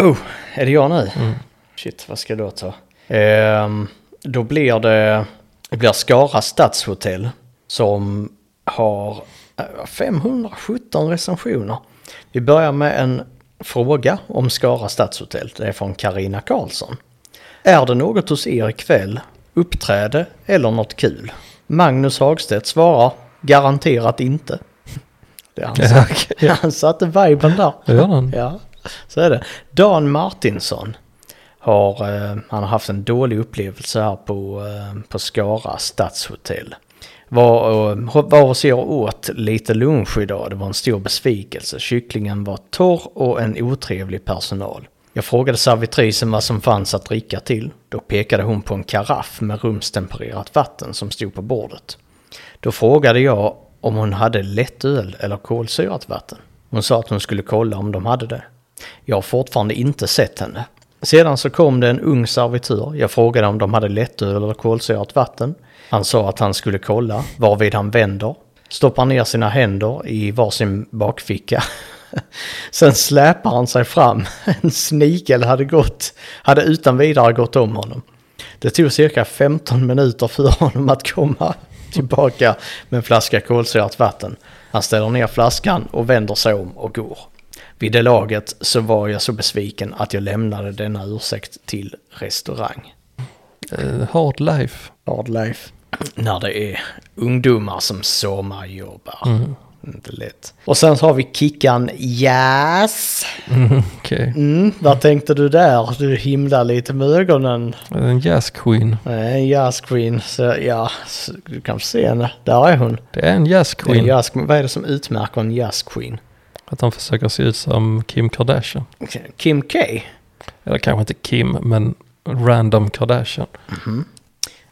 Oh, är det jag nu? Shit, vad ska jag då ta? Ehm, då blir det, det blir Skara stadshotell som har eh, 517 recensioner. Vi börjar med en fråga om Skara stadshotell. Det är från Karina Karlsson. Är det något hos er ikväll? Uppträde eller något kul? Magnus Hagstedt svarar garanterat inte. Det är han som-
Ja, okej. Mm. Ja,
han satte viben där.
det gör den.
Ja, så är det. Dan Martinsson har, eh, han har haft en dålig upplevelse här på, eh, på Skara stadshotell. Var, eh, var hos er och åt lite lunch idag. Det var en stor besvikelse. Kycklingen var torr och en otrevlig personal. Jag frågade servitrisen vad som fanns att dricka till. Då pekade hon på en karaff med rumstempererat vatten som stod på bordet. Då frågade jag om hon hade lättöl eller kolsyrat vatten. Hon sa att hon skulle kolla om de hade det. Jag har fortfarande inte sett henne. Sedan så kom det en ung servitör. Jag frågade om de hade lättöl eller kolsyrat vatten. Han sa att han skulle kolla, varvid han vänder, stoppar ner sina händer i varsin bakficka. Sen släpar han sig fram. En snigel hade gått, hade utan vidare gått om honom. Det tog cirka 15 minuter för honom att komma tillbaka med en flaska kolsyrat vatten. Han ställer ner flaskan och vänder sig om och går. Vid det laget så var jag så besviken att jag lämnade denna ursäkt till restaurang.
Eh, hard life.
Hard life. När det är ungdomar som sommarjobbar. Inte lätt. Och sen så har vi Kickan Yes.
Mm, Okej.
Mm, vad tänkte du där? Du himlar lite med ögonen.
En jazz queen.
Nej, En jazz queen, så ja, så du kanske ser henne. Där är hon.
Det är en jazz
Det är En
queen.
jazz, vad är det som utmärker en jazz queen?
Att han försöker se ut som Kim Kardashian.
Kim K.
Eller kanske inte Kim, men random Kardashian.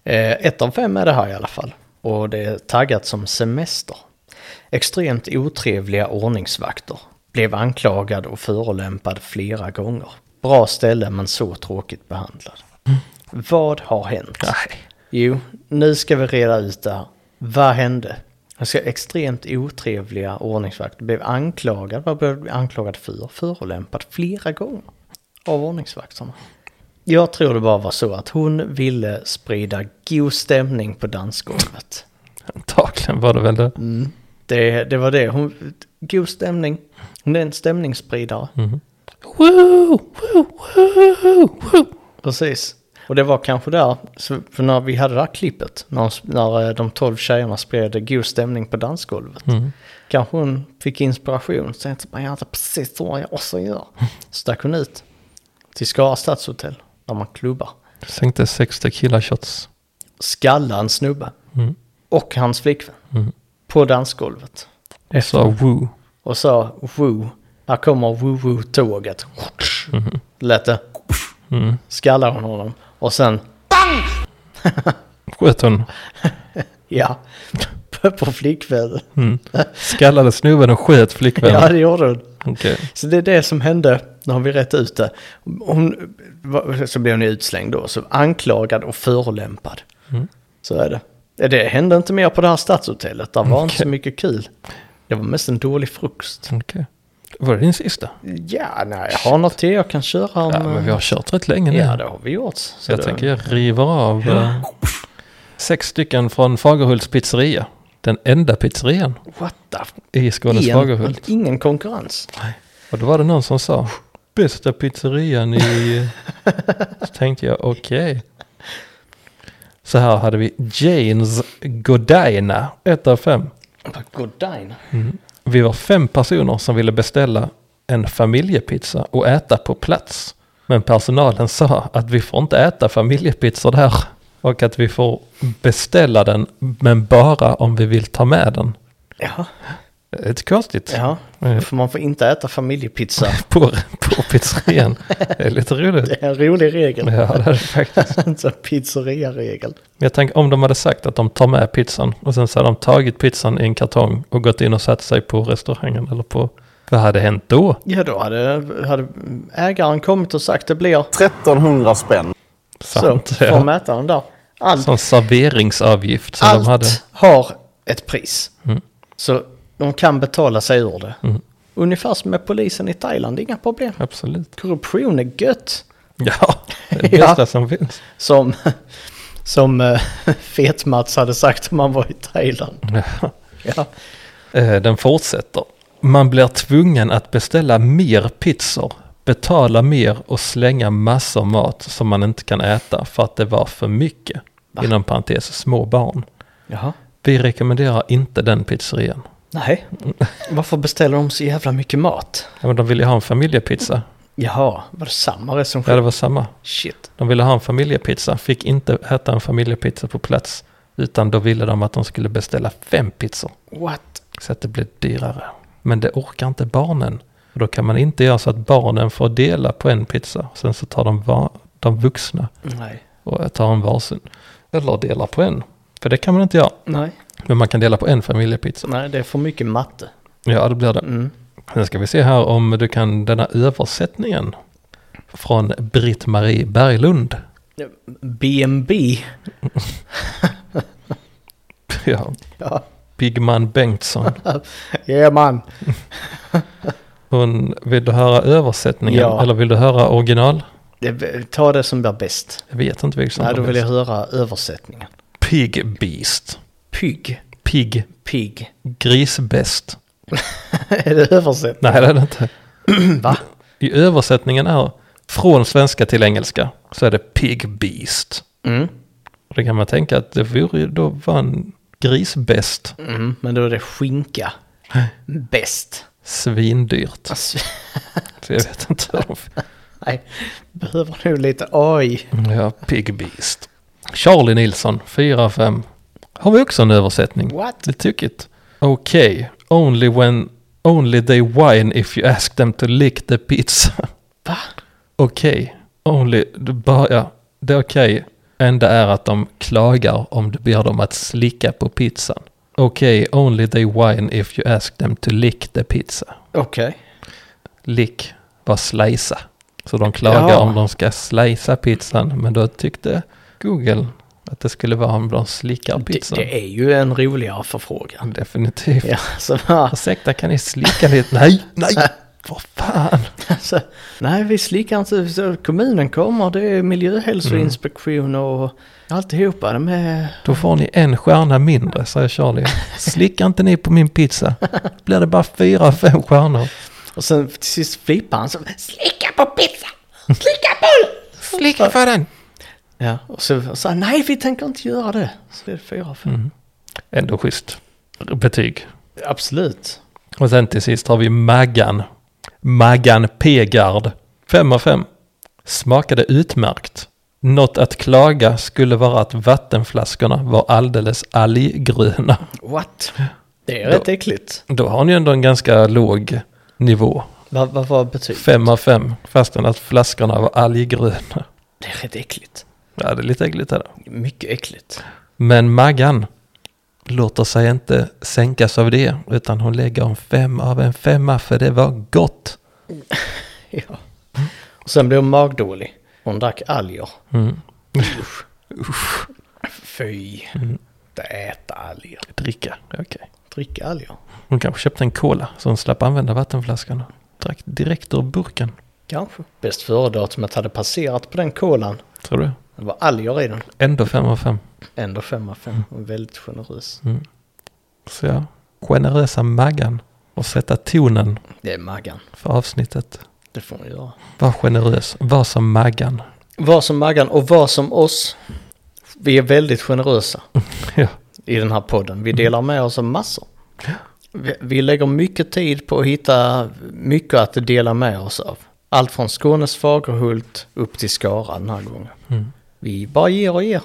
Eh, ett av fem är det här i alla fall. Och det är taggat som semester. Extremt otrevliga ordningsvakter. Blev anklagad och förolämpad flera gånger. Bra ställe men så tråkigt behandlad. Vad har hänt? Jo, nu ska vi reda ut det här. Vad hände? Han ska extremt otrevliga ordningsvakter. Blev anklagad, vad blev han anklagad för? Förolämpad flera gånger av ordningsvakterna. Jag tror det bara var så att hon ville sprida god stämning på dansgolvet.
Antagligen var det väl det.
Mm. Det, det var det. Hon, god stämning. Hon är en stämningsspridare.
Woo, woo, woo, woo.
Precis. Och det var kanske där, så- för när vi hade det här klippet, när, hon- när eh, de tolv tjejerna spred god stämning på dansgolvet.
Mm.
Kanske hon fick inspiration, så tänkte man, ja det är precis så jag också gör. Stack hon ut till Skara stadshotell, där man klubbar.
Sänkte 60 killar shots.
Skallade en snubbe
Mm.
och hans flickvän på dansgolvet.
Och sa woo.
Och sa, woo, här kommer woo-woo-tåget. Lät det.
Mm.
Skallade hon honom. Och sen
Sköt hon.
Ja, på, på flickvännen.
Mm. Skallade snubben och sköt
Ja,
flickvännen.
det gjorde hon.
Okej.
Så det är det som hände, nu har vi rätt ut det. Hon, va- så blev hon utslängd då, så anklagad och förolämpad.
Mm.
Så är det. Det hände inte mer på det här stadshotellet, där var inte så
Okej.
mycket kul. Det var mest en dålig frukost.
Okej. Var det din sista?
Ja, nej, jag har något till jag kan köra om...
Ja, men vi har kört rätt länge nu.
ja, det har vi gjort. Så
jag
det-
tänker jag river av eh, sex stycken från Fagerhults pizzeria. Den enda pizzerian
What the... f-
i Skånes
Igen,
Fagerhult.
ingen konkurrens.
Och då var det någon som sa bästa pizzerian i... Så tänkte jag okej. Så här hade vi Janes Godina, ett av fem.
Goddain.
Vi var fem personer som ville beställa en familjepizza och äta på plats. Men personalen sa att vi får inte äta familjepizzor där. Och att vi får beställa den, men bara om vi vill ta med den.
Ja,
Det är Lite konstigt.
ja.
Eh,
För man får inte äta familjepizza.
På, på pizzerian. Det är lite roligt.
Det är en rolig regel.
Ja, det är det faktiskt.
En sån pizzeria-regel.
Men Jag tänker om de hade sagt att de tar med pizzan och sen så hade de tagit pizzan i en kartong och gått in och satt sig på restaurangen eller på Vad hade hänt då?
Ja, då hade, hade ägaren kommit och sagt det blir
1300 spänn.
Sant.
så från
ja.
mätaren där. Allt,
Som serveringsavgift som
allt
de hade. Mm.
har ett pris. Så de kan betala sig ur det. Ungefär som med polisen i Thailand, inga problem.
Absolut.
Korruption är gött.
Ja, det är det
Ja.
bästa som finns.
Som, som eh, Fet-Mats hade sagt om han var i Thailand.
Ja.
Ja.
Eh, Den fortsätter. Man blir tvungen att beställa mer pizzor, betala mer och slänga massor mat som man inte kan äta för att det var för mycket. Inom parentes små barn.
Jaha.
Vi rekommenderar inte den pizzerian.
Nej. Varför beställer de så jävla mycket mat?
Ja, men de ville ju ha en familjepizza.
Jaha, var det samma
Ja, det
recension?
var samma.
Shit.
De ville ha en familjepizza, fick inte äta en familjepizza på plats. Utan då ville de att de skulle beställa fem pizzor.
What?
Så att det blir dyrare. Men det orkar inte barnen. Och då kan man inte göra så att barnen får dela på en pizza. Sen så tar de, va- de vuxna
Nej.
och tar en varsin. Eller delar på en. För det kan man inte göra.
Nej.
Men man kan dela på en familjepizza.
Nej, det är för mycket matte.
Ja, det blir det.
Mm.
Sen ska vi se här om du kan denna översättningen. Från Britt-Marie Berglund.
BNB.
Ja,
Ja,
Bigman Bengtsson.
yeah, man.
Hon, vill du höra översättningen
Ja.
eller vill du höra original?
Det, ta det som blir bäst.
Jag vet inte vilket som
Nej,
var
då vill jag
bäst.
höra översättningen.
Pig Beast.
Pygg.
Pig.
Pigg.
Grisbäst.
är det översättning?
Nej, det är det inte.
Va?
I översättningen är från svenska till engelska så är det Pig Beast.
Mm.
Och Det kan man tänka att det vore ju då var en grisbäst.
Mm, men då är det skinka. Bäst.
Svindyrt.
Alltså,
Så jag vet inte. hur de-
nej, behöver nog lite AI.
Ja, Pig Beast. Charlie Nilsson, 4-5. Har vi också en översättning?
What?
Det är tokigt. Okej, only when... Only they whine if you ask them to lick the pizza.
Va?
Okej, only... det Bara, ja, det är okej. Enda är att de klagar om du ber dem att slicka på pizzan. Okej, only they whine if you ask them to lick the pizza.
Okej.
Lick var slicea. Så de klagar
Ja.
om de ska slicea pizzan. Men då tyckte Google att det skulle vara om de slickar
Det,
pizzan.
det är ju en roligare förfrågan.
Definitivt.
Ja, så, va?
Ursäkta, kan ni slicka lite? Nej, nej, vad fan.
alltså, nej, vi slickar inte. Så Kommunen kommer, det är miljöhälsoinspektion och alltihopa. De är...
Då får ni en stjärna mindre, säger Charlie. Slicka inte ni på min pizza. Blir det bara fyra, fem stjärnor.
Och sen till sist flippar han så.
Slicka på pizza! Slicka på den!
Slicka för den.
Ja, och så sa han, nej vi tänker inte göra det. Så det är fyra, fem.
Mm. Ändå schysst betyg.
Mm. Absolut.
Och sen till sist har vi Maggan. Maggan Pegard. Fem av fem. Smakade utmärkt. Något att klaga skulle vara att vattenflaskorna var alldeles alggröna.
What? Det är rätt
Då-
äckligt.
Då har ni ändå en ganska låg nivå.
Vad vad var betyg?
Fem av fem, fastän att flaskorna var alggröna.
Det är rätt äckligt.
Ja, det är lite äckligt här.
Mycket äckligt.
Men Maggan låter sig inte sänkas av det, utan hon lägger en fem av en femma, för det var gott.
Ja. Mm. Och sen blev hon magdålig. Hon drack alger.
Mm.
Fy. Inte äta alger.
Dricka, okej.
Dricka alger.
Hon kanske köpte en cola, så hon slapp använda vattenflaskan. Drack direkt ur burken,
Kanske. Bäst före-datumet hade passerat på den kolan.
tror du?
Det var alger i den.
Ändå fem av fem.
Ändå fem av fem. Hon är Väldigt generös.
Så ja, generösa Maggan. Och sätta tonen
Det är Maggan.
för avsnittet.
Det får hon göra.
Var generös, var som Maggan.
Var som Maggan och var som oss. Vi är väldigt generösa
Ja.
i den här podden. Vi delar med oss av massor. Vi, vi lägger mycket tid på att hitta mycket att dela med oss av. Allt från Skånes Fagerhult upp till Skara den här gången. Vi bara ger och ger.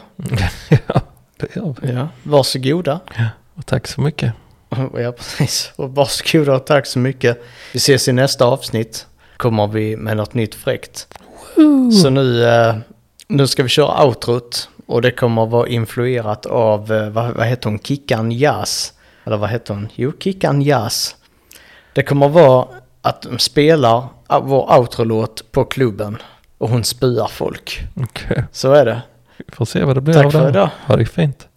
ja, det gör vi.
Ja. Varsågoda.
Ja. Och tack så mycket.
Ja, precis. Och varsågoda och tack så mycket. Vi ses i nästa avsnitt. Kommer vi med något nytt fräckt. Så nu, eh, nu ska vi köra outrot. Och det kommer vara influerat av, eh, vad, vad heter hon, Kickan Jazz? Eller vad heter hon? Jo, Kickan Jazz. Det kommer vara att de spelar vår outro-låt på klubben och hon spyar folk.
Okej,
Så är det.
vi får se vad det blir
Tack
av
för
det.
idag.
Ha det fint.